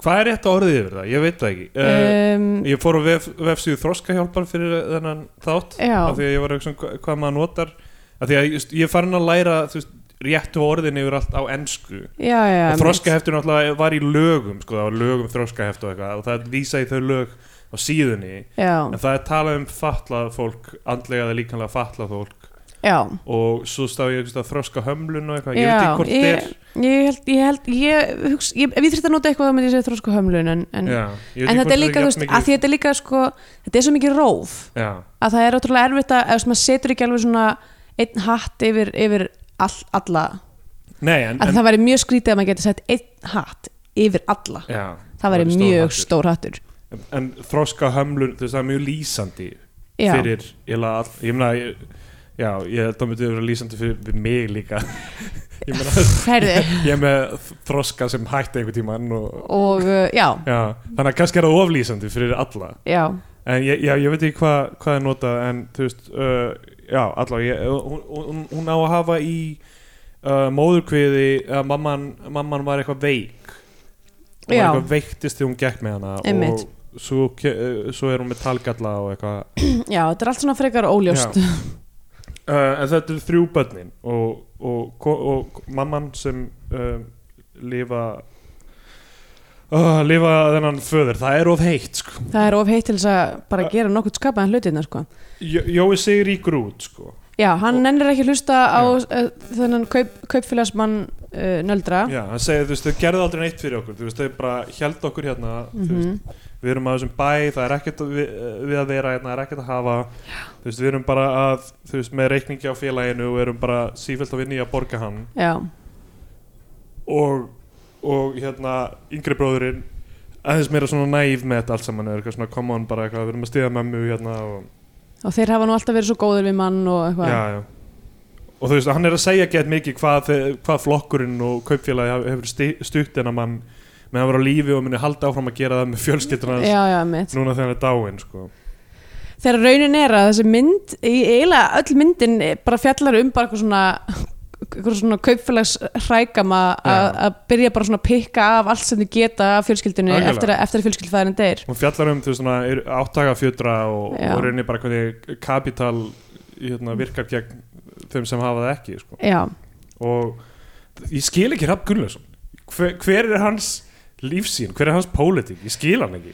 S3: hvað er rétt orðið yfir það, ég veit það ekki uh,
S2: um,
S3: ég fór á vef, vefsíðu þroskahjálpar fyrir þennan þátt
S2: Já.
S3: af því að ég var að hugsa um hva- hvað maður notar af því að just, ég er farin að læra þú veist, réttu orðin yfir allt á ensku
S2: já, já, já,
S3: og
S2: einmitt.
S3: þroskaheftur náttúrulega var í lögum sko, það var lögum þroskaheft og eitthvað og það er vísa í þau lög á síðunni
S2: já,
S3: en það er talað um fatlað fólk andlega eða líkanlega fatlað fólk
S2: já,
S3: og svo stá ég að þroska hömlun og eitthvað, ég veit
S2: já
S3: ekki hvort
S2: ég,
S3: þetta
S2: ég held ég held, ég hugs, ég, ef ég þurfti að nota eitthvað þá myndi ég segja þroskahömlun en, en,
S3: er já, ég veit
S2: en
S3: ekki
S2: þetta
S3: hvort
S2: er líka, þú veist,
S3: jafn
S2: að því þetta er líka sko, þetta er svo mikið róf
S3: já,
S2: að það er ótrúlega erfitt að, eða þú veist, maður setur ekki alveg svona einn hatt yfir, yfir all, alla,
S3: nei en,
S2: að
S3: en
S2: það væri mjög skrítið að maður geti sett einn hatt yfir alla
S3: já,
S2: það væri
S3: stór
S2: mjög
S3: hattur.
S2: stór hattur
S3: en, en þroska hömlun, þú veist, það er mjög lýsandi
S2: já,
S3: fyrir, ég la all, ég meina ég, já, ég held að það myndi vera lýsandi fyrir fyrir mig líka ég meina,
S2: herði
S3: ég er með þroska sem hætti einhver tíman og
S2: og uh, já,
S3: Já, þannig að kannski er það oflýsandi fyrir alla
S2: já,
S3: En ég, já, ég veit ekki hvað hva er notað En þú veist, uh, já, alla ég, hún, hún, hún á að hafa í uh, móðurkviði að mamman, mamman var eitthvað veik Hún
S2: Já.
S3: var eitthvað veiktist þegar hún gekk með hana
S2: Einmitt.
S3: Og svo, ke- uh, svo er hún með talgalla og eitthvað
S2: já, þetta er allt svona frekar óljóst já,
S3: uh, En þetta eru þrjú börnin og, og, ko- og, og mamman sem uh, lifa uh, lifa þennan föður, það er of heitt sko
S2: það er of heitt til þess að bara gera nokkuð skapaðan hlutina sko.
S3: Jó- Jói segir í grút sko
S2: já, hann nennir ekki að hlusta á
S3: Já.
S2: uh, þennan kaup, kaupfélagsmann uh, nöldra
S3: Já, hann segir, þú veist, þau gerðu aldrei neitt fyrir okkur Þú veist, þau bara held okkur hérna
S2: Mhm.
S3: þú veist, Við erum að þessum bæ, það er ekkert að við, við að vera hérna, það er ekkert að hafa Þú veist, við erum bara að, þú veist, með reikningi á félaginu og erum bara sífælt að vinni að borga hann
S2: já,
S3: og, og hérna, yngri bróðurinn aðeins meira svona næf með þetta allt saman er eitthvað svona, come on, bara eitthvað, við erum að stiða mömmu hérna og,
S2: og þeir hafa nú alltaf verið svo góður við mann og eitthvað
S3: já, já Og þú veist, hann er að segja gett mikið hvað, þe- hvað flokkurinn og kaupfélagi haf- hefur sti- stutt en að mann með að vera á lífi og muni halda áfram að gera það með fjölskyldun hans
S2: já, já, mitt
S3: núna þegar hann er dáinn sko.
S2: þegar raunin er að þessi mynd í eiginlega öll myndin eh, bara fjallar um bara eitthvað svona eitthvað svona kaupfélags hrækama að
S3: Já.
S2: að byrja bara svona að pikka af allt sem þið geta af fjölskyldunni
S3: Algjörlega.
S2: eftir að, eftir að fjölskyldfæðin deyr
S3: Hún fjallar um þú veist, svona, er- áttakafjötra og,
S2: Já.
S3: og reynir bara hvernig kapital hérna, virkar gegn þeim sem hafa það ekki sko.
S2: já,
S3: og ég skil ekki Rapp Gunnlaugsson hver, hver er hans lífsín, hver er hans pólitík ég skil hann ekki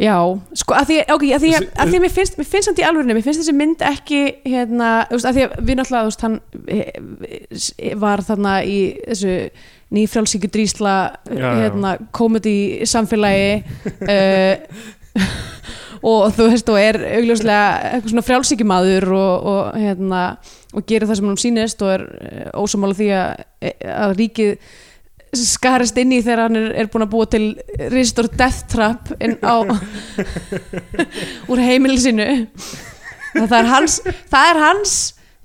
S2: já, sko að því, okay, að því, að,
S3: Þessi-
S2: því að mér finnst, mér finnst hann í alvörinu mér finnst þessi mynd ekki hérna, þú veist, að því að við náttúrulega þú veist, hann eh, var þarna í þessu nýfrálsíku drísla
S3: já.
S2: hérna, komedi samfélagi uh, og þú veist og er augljóslega eitthvað svona frjálsíkimaður og, og hérna og gerir það sem hann sýnist og er eh, ósamála því að, að ríkið skarist inn í þegar hann er, er búin að búa til Ristor Death Trap inn á úr heimili sínu það er hans það er hans,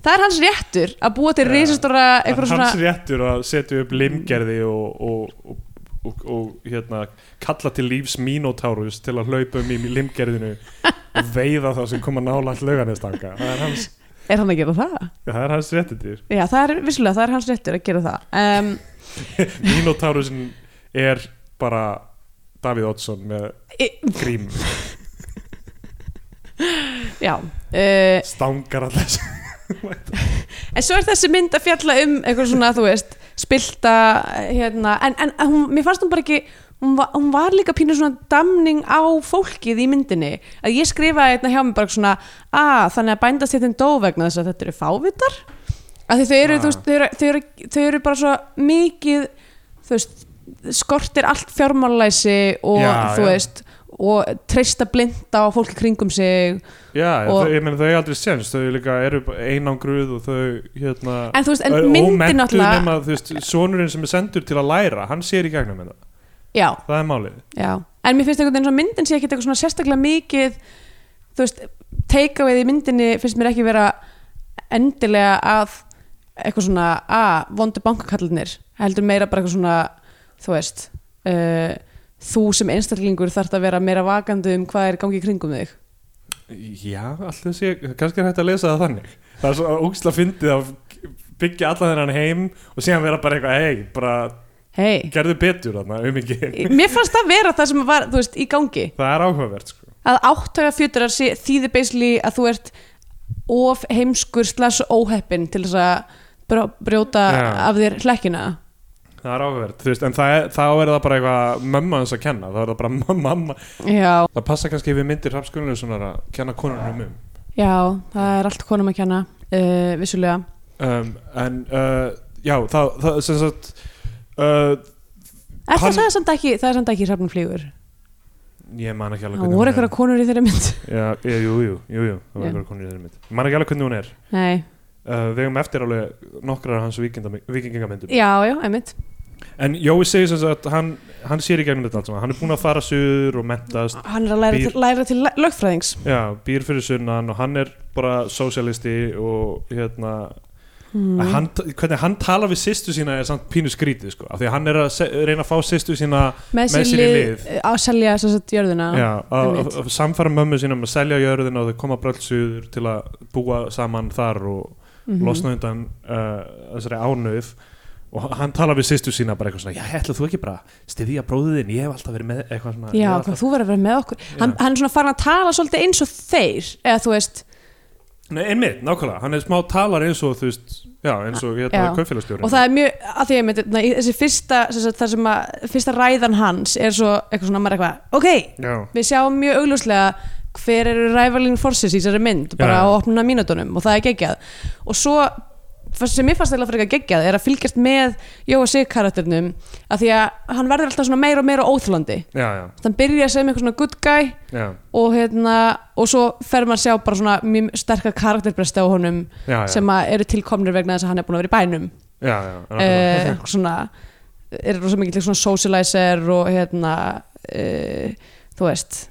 S2: það er hans réttur að búa til
S3: Já.
S2: Ristora
S3: en
S2: eitthvað
S3: hans
S2: svona
S3: réttur að setja upp limgerði og, og, og, og, og hérna, kalla til lífs mínotárus til að hlaupa um í limgerðinu og veiða það sem koma nálægt lauganestanga það er hans,
S2: er hann að gera það?
S3: það er hans réttutir
S2: Já, það er vissulega, það er hans réttur að gera það um,
S3: mínotárusin er bara Davíð Oddsson með
S2: e,
S3: grím
S2: Já uh,
S3: stangar alltaf
S2: En svo er þessi mynd að fjalla um eitthvað svona, þú veist spilta hérna, en, en en hún, mér fannst hún bara ekki hún var, hún var líka pínu svona damning á fólkið í myndinni að ég skrifaði hérna hjá mér bara svona að þannig að bændastjættin dó vegna þess að þetta eru fávitar að þau eru,
S3: Ah.
S2: þú veist, þau eru, þau eru, þau eru bara svo mikið þú veist, skortir allt fjármálæsi og
S3: Já,
S2: þú
S3: já.
S2: veist og treysta blinda á fólki kringum sig
S3: já,
S2: Og-
S3: og, ég meina þau er aldrei séns þau líka eru bara einangruð og þau hérna
S2: en þú veist, en
S3: eru ómenntuð
S2: myndin náttúrulega
S3: nema, þú veist, sonurinn sem er sendur til að læra hann sér í gegnum þetta,
S2: já,
S3: það er málið
S2: Já, en mér finnst einhvern veginn svo myndin sé ekkert eitthvað svona sérstaklega mikið þú veist, takeawayð í myndinni finnst mér ekki vera endilega að eitthvað svona að vondu bankakallinir heldur meira bara eitthvað svona þú veist uh, þú sem einstaklingur þarft að vera meira vakandi um hvað er í gangi í kringum þig
S3: já, alltaf sé, kannski er hægt að lesa það þannig það er svo ógislega fyndið að byggja allan þennan heim og síðan vera bara eitthvað, hei, bara
S2: hei,
S3: gerðu betur þarna, um ekki
S2: mér fannst það vera það sem var, þú veist, í gangi
S3: það er áhugavert sko
S2: að áttaga fjöturar sé þýði beisli að þú ert of heimskur slags óheppin til þess að brjó- brjóta
S3: Já.
S2: af þér hlekkina
S3: Það er áhugavert, þú veist, en það, er- þá er það bara eitthvað mömmu hans að kenna, þá er það bara mam- mamma
S2: Já,
S3: Það passa kannski við myndir Rapskunnulegusunar að kenna konunum um
S2: já, það er allt konum að kenna uh, vissulega
S3: um, En, uh, já, það, það sem sagt uh,
S2: En
S3: Hann-
S2: það sagði samt ekki, það er samt ekki hrefnum flýgur
S3: Ég man ekki alveg
S2: Það voru
S3: hún
S2: eitthvað konur í þeirri mynd
S3: er Já, ég- jú, jú, jú, jú, það
S2: Já.
S3: voru eitthvað konur í þeirri mynd Ég man ekki alveg hvernig hún er
S2: Nei,
S3: uh, Við hefum eftir alveg nokkrar af hans vikingamyndum
S2: já, já, einmitt
S3: En Jói segir sem sagt, hann, hann sér í gegnum þetta allt saman Hann er búinn að fara suður og mentast
S2: Hann er að læra
S3: Býr-
S2: til, læra til la- lögfræðings
S3: Já, býr fyrir sunnan og hann er bara sósialisti og hérna mm.
S2: hmm.
S3: hann, hvernig hann talar við sýstu sína er samt pínu skrítið sko, af því að hann er að se- reyna að fá sýstu sína
S2: Með sér í lið, á að selja sem sagt jörðuna
S3: já, að, að,
S2: einmitt.
S3: að samfara mömmu sína með að selja jörðina og þau koma bröldsugður til að búa saman þar og
S2: Mhm.
S3: losna undan uh, þessari ánöð og hann talar við sýstu sína bara eitthvað svona, já, ætla þú ekki bara stiðja bróðin, ég hef alltaf verið með eitthvað svona
S2: Já,
S3: ég
S2: hvað
S3: hef alltaf...
S2: þú verður að vera með okkur hann, hann er svona farin að tala svolítið eins og þeir eða þú veist,
S3: Nei, einmitt, nákvæmlega, hann er smá talar eins og þú veist, já, eins og hérna
S2: Já.
S3: kaupfélagstjóri
S2: og það er mjög að því að myndi, na, í þessi fyrsta sem sagt, þar sem að, fyrsta ræðan hans er svo eitthvað svona, maður er eitthvað, ok,
S3: Já,
S2: við sjáum mjög augljóslega hver eru rivaling forces í þessari mynd bara
S3: Já, já.
S2: á opnuna mínutunum og það er geggjað og svo sem mér fannst eða fyrir ekki geggjað er að fylgjast með Jóa Sig karakternum af því að hann verður alltaf svona meira og meira óþlandi
S3: já, já,
S2: þann byrja sem eitthvað svona good guy
S3: já,
S2: og, hérna, og svo fer maður að sjá bara svona mjög sterkar karakterbresti á honum
S3: já, já.
S2: sem að eru tilkomnir vegna þess að hann er búin að vera í bænum
S3: já, já, nákvæmlega.
S2: uh, svona er rosa mikið svona socializer og hérna uh, þú veist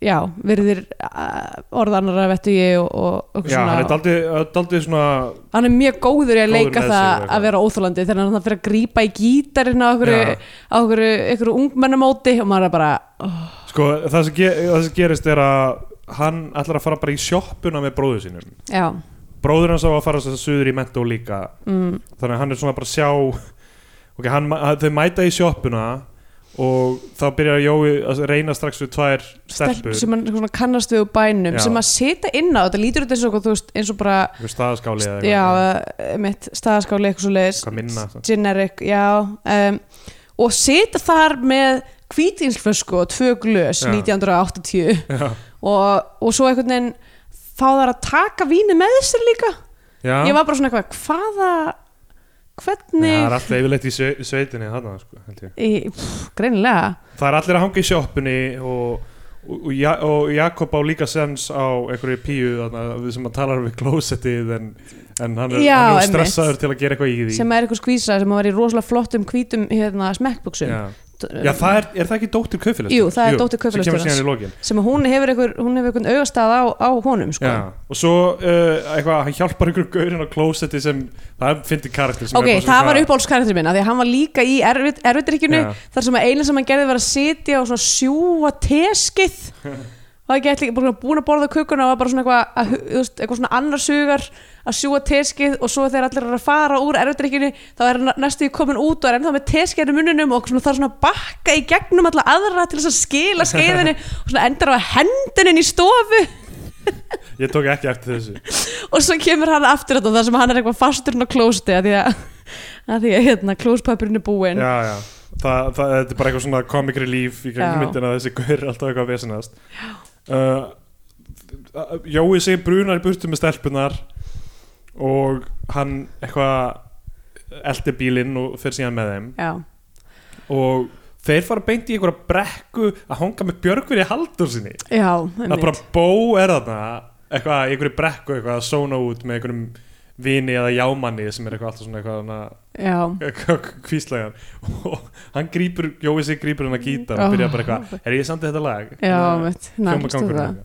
S2: já, virðir uh, orðanara vettu ég og, og, og
S3: Já, hann er daldið, daldið svona
S2: hann er mjög góður í að
S3: Góður
S2: leika
S3: með sig
S2: það
S3: og eitthvað.
S2: að vera óþólandi þegar hann fyrir að grípa í gítarinn á okkur,
S3: Já.
S2: á okkur, okkur ungmennamóti og maður er bara oh,
S3: Sko, það sem, ge það sem gerist er að hann ætlar að fara bara í sjoppuna með bróður sínum
S2: já,
S3: Bróður hans á að fara þess að suður í mentó líka
S2: mm,
S3: Þannig að hann er svona bara að sjá Ok, hann, ma- að- þau mæta í sjoppuna Og þá byrjar Jói að reyna strax við tvær stelpur
S2: sem hann svona kannast við úr bænum
S3: Já.
S2: sem að setja inn á, þetta lítur út eins og, eitthvað, þú veist, eins og bara
S3: Einhver staðaskáli eða
S2: já,
S3: eitthvað,
S2: eh, mitt staðaskáli eitthvað svo leiðis
S3: eitthvað minna
S2: generic, já um, og sita þar með hvítinsflösku og tvö glös
S3: Já.
S2: 1980
S3: Já,
S2: og, og svo einhvern veginn fá þar að taka vínu með sér líka
S3: já.
S2: ég var bara svona eitthvað, hvaða
S3: Það er
S2: hvernig
S3: alltaf yfirleitt í svei- sveitinni þarna, sko, held ég
S2: í, pff, greinilega
S3: Það er allir að hanga í sjoppunni og, og, og, Ja- og Jakob á líka sens á einhverju píu þarna, við sem að talar við klósettið en, en hann er,
S2: Já,
S3: hann er
S2: einmitt.
S3: stressaður til að gera eitthvað í því
S2: sem er eitthvað skvísa sem var í rosalega flottum hvítum hérna, smekkbuksum
S3: Já, já það er, er það ekki dóttir kaufélagsstjóra?
S2: Jú, það er dóttir
S3: Sem kemur
S2: kaupfélagsstjórans.
S3: síðan í lokin
S2: sem að hún hefur einhver, hún hefur einhvern augastað á, á honum sko.
S3: Já, og svo uh, eitthvað, hann hjálpar einhverjum gaurinn á klósetti sem, það er fyndið karakter sem
S2: ok, það var uppáhaldskarakter minn af því að hann var líka í erfid, erfidrykkjunu
S3: Já.
S2: þar sem að eina sem hann gerði var að sitja og svona sjúa teskið og það gæti líka bara svona búin að borða kukuna og var bara svona eitthvað, að, hu- þú veist, eitthvað svona annarsugar að sjúa teskið og svo þegar allir eru að fara úr erfidrykkjunu þá er hann næstu í komin út og er ennþá með teskið í mununum og svona, það er svona að bakka í gegnum alla aðra til þess að skila skeiðinu og svona endar á hendinin í stofu
S3: Ég tók ekki eftir þessu
S2: og svo kemur hann aftur þetta þar sem hann er eitthvað fastur inn á klósti af því að að því að hérna klóspapirinn er búinn
S3: já, já. Þa, það, þetta er bara eitthvað svona comic relief í gegnum
S2: Já.
S3: myndina þessi guður alltaf eitthvað að vesenast uh, Jói segir brunar í burtu með stelpunar og hann eitthvað eldi bílinn og fer síðan með þeim
S2: já,
S3: og þeir fara beint í einhverja brekku að hanga með Björgvin í haldur sinni
S2: já
S3: það er
S2: einmitt.
S3: bara bó er þarna eitthvað, í einhverju brekku eitthvað að sóna út með einhverjum vini eða jámanni sem er eitthvað alltaf svona eitthvað svona
S2: já,
S3: kvíslæðan og hann grípur, Jói sig grípur hann að gítar og byrja bara eitthvað, er ég samt þetta lag?
S2: Mm. já, mitt
S3: Hljómagangur
S2: það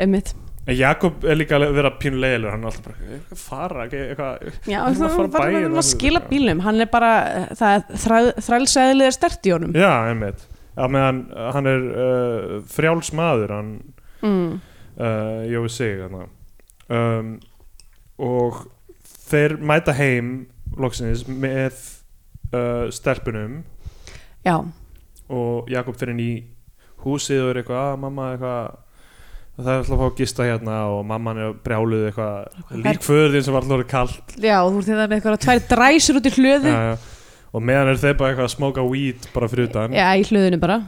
S2: einmitt
S3: En Jakob er líka að vera pínulegilegur hann er alltaf bara, "Ég er að fara ekki, eitthvað
S2: já,
S3: Hann er að
S2: það
S3: fara
S2: var bara
S3: bæinn
S2: hann
S3: og
S2: að skila
S3: eitthvað.
S2: bílum hann er bara, það er þrælsæðilega stert í honum
S3: Já, einmitt að meðan hann er uh, frjáls maður hann
S2: mm.
S3: uh, Jói sig um, og þeir mæta heim loksins með uh, stelpunum
S2: já,
S3: og Jakob fyrir inn í húsið og er eitthvað að mamma eitthvað það er alltaf að fá að gista hérna og mamman er brjáluð eitthvað lík föður þín sem var alltaf orðið kalt
S2: já, þú ert þetta með eitthvað tvær dræsur út í hlöðu já,
S3: ja, og meðan er þeir bara eitthvað að smóka weed bara fyrir utan
S2: í hlöðinu bara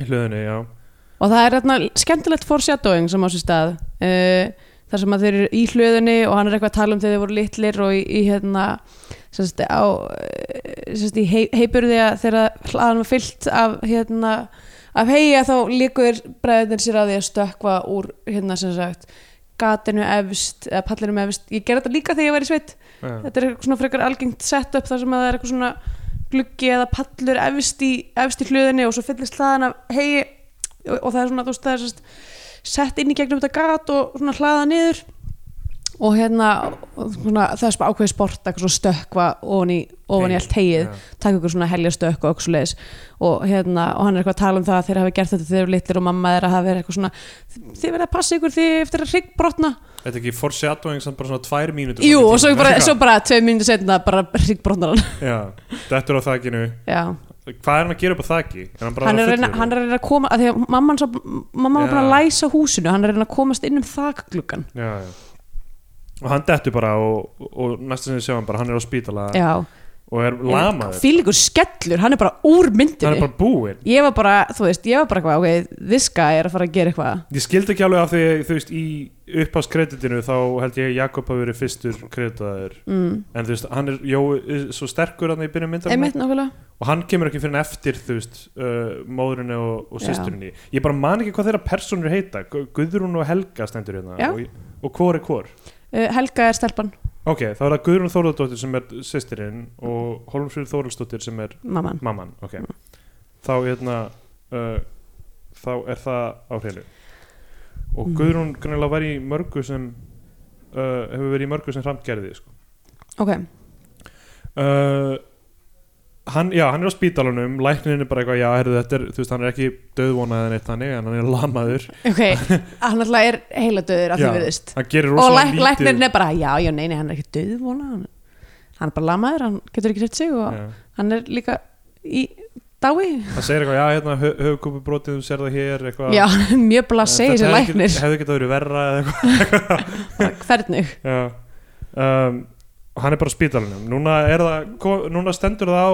S3: í hlöðinu, já
S2: og það er þarna skemmtilegt foreshadowing sem á sér stað uh, þar sem að þeir eru í hlöðunni og hann er eitthvað að tala um þegar þeir voru litlir og í, í hérna sérst, á, eh, sérst, í hei, heipurði að þegar hlaðan var fyllt af hérna af heiða þá líkur bræðinir sér að því að stökkva úr hérna sem sagt gatinu efst eða pallinum efst, ég gerði þetta líka þegar ég var í sveit
S3: já,
S2: þetta er eitthvað svona frekar algengt setup þar sem að það er eitthvað svona gluggi eða pallur efst í, efst í hlöðinni og svo fyllist hlaðan af hegi og, og það er svona, þú veist, það er sest, sett inn í gegnum þetta gat og svona hlaða niður og hérna og svona, það er svona ákveðið sport eitthvað svona stökkva ofan í, ofan í allt hegið
S3: já.
S2: taka ykkur svona helja stökk og okkur svo og hérna, og hann er eitthvað að tala um það að þeir hafi gert þetta þegar þeir eru litlir og mamma þeirra hafi verið eitthvað svona þið verða að passa ykkur því eftir að hryggbrotna
S3: þetta er ekki foreshadowing sem bara svona tvær mínútur
S2: Jú,
S3: fram í
S2: og svo
S3: tímann,
S2: bara,
S3: eitthvað.
S2: svo bara tvei mínu setna bara hryggbrotnar hann
S3: já, þetta er á þakkinu
S2: Já,
S3: hvað er hann að gera upp á þakki? Er hann, bara
S2: hann er, að
S3: fullur?
S2: reyna, hann er að reyna að koma að því að mamman, svo, mamman var
S3: Já.
S2: búin að læsa húsinu hann er að reyna að komast inn um þakgluggan
S3: já, já. og hann dettur bara og, og næsta sem við sjáum bara, hann er á spítala
S2: Já,
S3: og er lamaður
S2: fylgur skellur, hann er bara úr
S3: hann er
S2: myndinni
S3: bara búinn
S2: Ég var bara, þú veist, ég var bara eitthvað ok, this guy er að fara að gera eitthvað
S3: Ég skildi ekki alveg af því, þú veist, í uppháskreditinu þá held ég að Jakob hafi verið fyrstur kreditaður
S2: mm.
S3: en þú veist, hann er jó, svo sterkur hann í byrjun myndarinn
S2: Einmitt nákvæmlega
S3: og hann kemur ekki fyrir en eftir, þú veist, uh, móðurinni og, og
S2: Já.
S3: systurinni. Ég bara man ekki hvað þeirra personur heita, Gu- Guðrún og Helga stendur hérna
S2: Já.
S3: og, og hvor er hvor?
S2: uh, Helga er stelpan,
S3: Ok, þá er það Guðrún Þóraldóttir sem er systirinn og Holmfríður Þóraldsdóttir sem er
S2: mamman
S3: mamman, ok. Þá, hérna, uh, þá er það á hreinu. Og
S2: Mm.
S3: Guðrún grannlega var í mörgu sem, uh, hefur verið í mörgu sem Hramt gerði, sko.
S2: Ok,
S3: Uh, hann, já, hann er á spítalunum, læknin er bara eitthvað, já, herðu þetta er, þú veist, hann er ekki döðvonað en eitt þannig, en hann er lamaður.
S2: ok, hann alltaf er heiladauður af því
S3: Já.
S2: verðist
S3: Hann gerir
S2: Og
S3: rosalega
S2: læk, læknirinn er bara, já, já, nei, nei, hann er ekki döðvona hann, hann er bara lamaður, hann getur ekki hreft sig og
S3: Já.
S2: hann er líka í dái
S3: Hann segir eitthvað, já, hérna, höfkupi brotið, þú sér það hér, eitthvað. Eh,
S2: Já, mjög blasé þessi
S3: Þetta hefði ekki-
S2: læknir
S3: Hefði ekki það verið verra eða eitthvað.
S2: Bara, Hvernig?
S3: Já um, Hann er bara á spítalunum Núna, er það, ko- núna stendur það á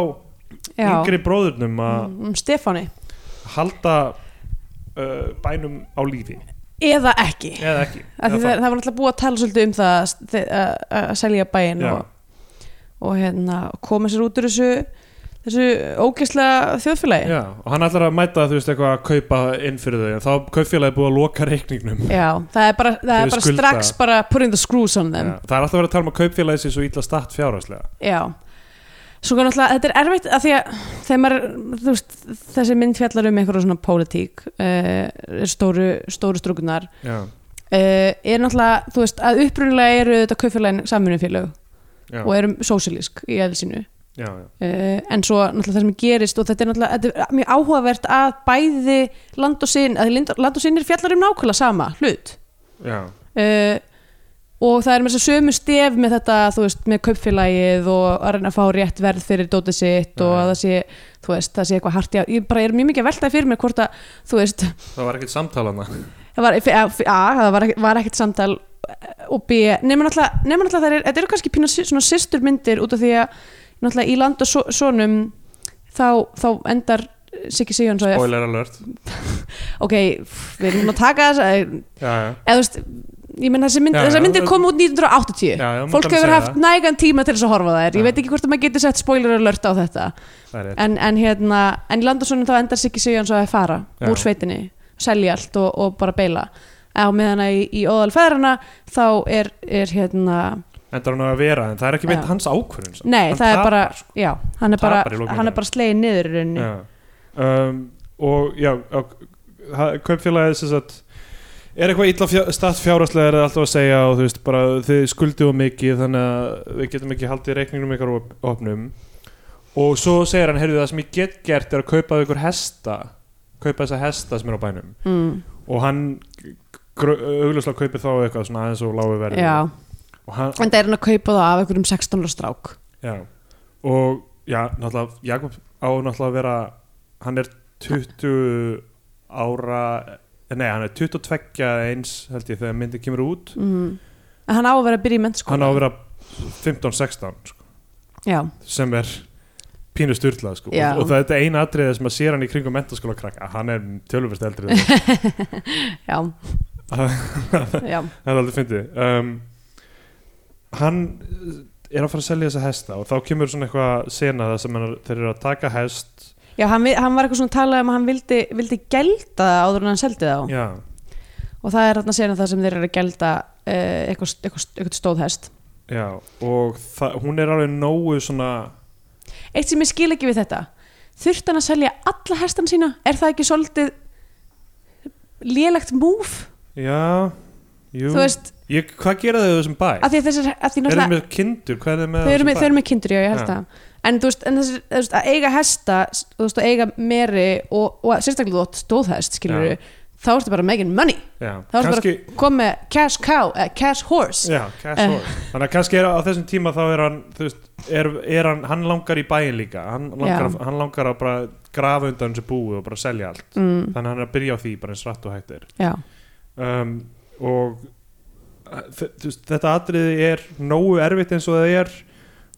S2: Já,
S3: yngri bróðurnum að
S2: um Stefáni
S3: halda uh, bænum á lífi
S2: Eða ekki
S3: eða ekki
S2: Af því
S3: Eða
S2: Það, það var náttúrulega búið að tala svolítið um það að st- að að selja bæinn
S3: Já.
S2: og, og hérna, koma sér út úr þessu þessu ógæslega þjóðfélagi
S3: Já, og hann ætlar að mæta þú veist eitthvað að kaupa inn fyrir þau en þá kaupfélagi búið að loka reikningnum
S2: það er bara, það
S3: Þau
S2: er bara
S3: skulda.
S2: strax bara putting the screws on them
S3: Já, Það er alltaf verið að tala um að kaupfélagi sé svo illa statt fjárhagslega
S2: Já Svo kannu alltaf, þetta er erfitt að því að þegar maður, þú veist, þessi mynd fjallar um einhverja svona pólitík uh, stóru, stóru strókunar
S3: Já,
S2: uh, er náttúrulega, þú veist, að upprunalega eru þetta kaupfélagin samunumfélag
S3: já,
S2: og erum sósilísk í eðlisínu uh,
S3: já, já.
S2: en svo náttúrulega það sem gerist og þetta er náttúrulega þetta er mjög áhugavert að bæði land og sinn, að land- land og sinn er fjallar um nákvæmlega sama hlut
S3: já.
S2: uh, og það er með þess að sömu stef með þetta, þú veist, með kaupfélagið og að reyna að fá rétt verð fyrir dótið sitt og
S3: Já.
S2: að það sé, þú veist, það sé eitthvað hart í að, ég bara er mjög mikið að veltaði fyrir mér hvort að, þú veist,
S3: Það var ekkert samtalana
S2: það var, a, a, það var, ekkert, var ekkert samtal eh, og b, nema náttúrulega, nema náttúrulega það er, þetta eru kannski pína sy- svona systurmyndir út af því að náttúrulega í land og so- sonum þá, þá endar Siggi Sigjóns á F
S3: Spoiler alert
S2: ok, pff, við erum að taka þess að
S3: Já, já,
S2: eða þú veist ég menn þessi mynd,
S3: Já,
S2: þessar
S3: já,
S2: myndir
S3: þú-
S2: kom út 1980
S3: Já, já, má
S2: fólk
S3: alveg
S2: hefur
S3: segja
S2: haft
S3: það.
S2: nægan tíma til þess að horfa á þær
S3: Já.
S2: ég veit ekki hvort að maður getur sett spoiler alert á þetta
S3: það er rétt
S2: en, en hérna, en í Landarsonum þá endar Siggi Sigjóns á að fara
S3: Já.
S2: úr sveitinni selja allt og, og bara beila á meðan að í, í óðal feðrana þá er, er hérna
S3: Endar hann á að vera, en það er ekki beint
S2: Já.
S3: hans ákvörðun samt.
S2: nei,
S3: Hann
S2: það er
S3: tapar, sko.
S2: bara, já, hann er bara,
S3: Tapar í lokin.
S2: hann er bara slegin niður í rauninni
S3: Já. um, og já, já það- kaupfélagið sem sagt er eitthvað illa fjá, statt fjárhastlega er það alltaf að segja og þú veist bara þið skuldið og mikið þannig að við getum ekki haldið reikningnum ykkar op- opnum og svo segir hann, heyrðu það sem ég get gert er að kaupa ykkur hesta kaupa þessa hesta sem er á bænum
S2: mm,
S3: og hann augljóslega kaupir þá eitthvað svona aðeins og lágu verði
S2: já.
S3: og, hann,
S2: en það er hann að kaupa það af einhverjum 16 ára strák
S3: Já, og já, náttúrulega Jakob á náttúrulega að vera hann er 20 ára nei, hann er 22 eða eins held ég þegar myndin kemur út
S2: mm. en hann á að vera að byrja í mennskóla
S3: hann á að vera 15-16 sko,
S2: já,
S3: sem er pínu styrlað sko.
S2: Já.
S3: og, og það er þetta eina atriðið sem að sér hann í kringum mentaskóla krakka, hann er tölvist eldri en það.
S2: já,
S3: það
S2: já
S3: er aldrei fyndið um, hann er að fara að selja þessa hesta og þá kemur svona eitthvað sena það sem hann, þeir eru að taka hest
S2: Já, hann, vi- hann var eitthvað svona að tala um að hann vildi, vildi gelda það áður en hann seldi þá
S3: já,
S2: og það er þarna sena það sem þeir eru að gelda uh, eitthvað, eitthvað, eitthvað stóðhest
S3: Já, og það- hún er alveg nógu svona
S2: Eitt sem ég skil ekki við þetta þurfti hann að selja alla hestan sína er það ekki svolítið lélegt múf
S3: Já, jú
S2: þú veist,
S3: ég, Hvað gera þau þessum bæ?
S2: af því að þessir af því
S3: Eru þau
S2: náttúrulega,
S3: með kindur? Hvað er þau með
S2: þau eru með,
S3: þessum bæ?
S2: þau eru með kindur, já, ég held
S3: Já.
S2: það en þú veist, en þessir, þú veist, að eiga hesta þú veist, að eiga meri og, og að- sérstaklega þú átt stóðhest, skilur
S3: Já.
S2: þá ertu bara making money,
S3: Já,
S2: þá ertu
S3: kannski
S2: bara kom með cash cow, uh, cash horse
S3: Já, cash
S2: Eh.
S3: uh. Þannig að kannski er á þessum tíma þá er hann þú veist, er, er hann, hann langar í bæin líka hann langar,
S2: Já.
S3: hann langar að bara grafa undan þessu búi og bara selja allt
S2: mm.
S3: þannig að hann er að byrja á því bara eins rætt og hægt er
S2: Já,
S3: um, og uh, þ- þú veist, þetta atriði er nógu erfitt eins og það er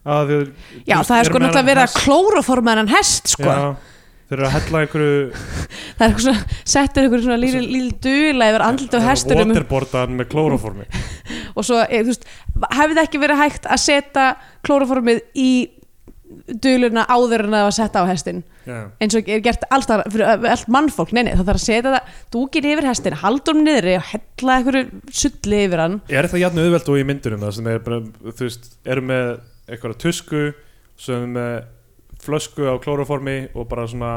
S3: að þau
S2: já
S3: þú veist,
S2: það er
S3: eru
S2: sko
S3: með
S2: náttúrulega
S3: þennan
S2: verið að
S3: hest.
S2: klóraforma hennan hest sko.
S3: Já, þeir eru að hella einhverju
S2: það er eitthvað svona, settur einhver svona lítil lítil dula yfir andlit og hestunum
S3: Waterboardan með klóroformi
S2: og svo, eh, þú veist, hefði það ekki verið hægt að setja klóraformið í duluna áður en það var sett á hestin
S3: Já,
S2: eins og er gert alltaf fyrir ö- allt mannfólk, nei nei, það þarf að setja það dúkin yfir hestin, haldur um niðri og hella einhverju sulli yfir hann
S3: Er það jafn auðvelt og í myndunum það sem er bara, þú veist, eru með eitthvað tusku sem er með flösku á klóroformi og bara svona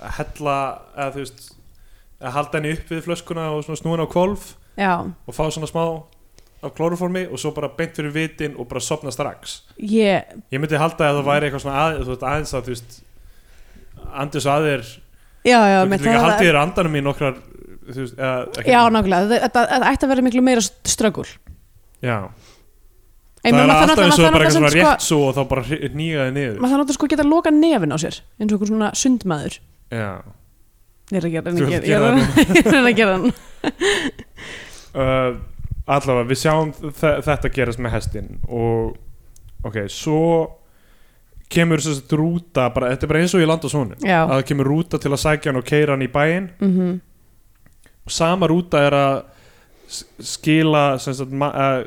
S3: að hella eða þú veist að halda henni upp við flöskuna og svona snúin á kvolf
S2: já,
S3: og fá svona smá af klóroformi og svo bara beint fyrir vitin og bara sopna strax
S2: ég,
S3: Ég myndi halda að það væri eitthvað svona að, þú veist, aðeins að þú veist andis að þér,
S2: já, já
S3: þú
S2: með
S3: veist líka
S2: það-
S3: haldið þér andanum í nokkrar þú veist, eða, ekki-
S2: já, nákvæmlega, þetta- þetta þetta ætti að vera miklu meira ströggul
S3: já.
S2: Ei,
S3: það
S2: maður
S3: er
S2: þarf
S3: alltaf
S2: náttúrulega-
S3: eins og
S2: maður
S3: bara
S2: þarf
S3: eitthvað svona
S2: náttúrulega sko-
S3: rétt svo og þá bara nýjaði niður
S2: maður þarf náttúrulega sko að geta að loka nefin á sér eins og einhver svona sundmaður
S3: já.
S2: ég er að gera,
S3: Þú
S2: ég er að gera,
S3: ert að gera
S2: ég er að- ég er að gera hann
S3: Uh, allavega við sjáum þe- þetta gerast með hestin og ok, svo kemur þess að rúta bara, þetta er bara eins og ég landa svonum
S2: já,
S3: að það kemur rúta til að sækja hann og keira hann í bæinn
S2: mm
S3: og sama rúta er að s- skila sem sagt, ma- uh,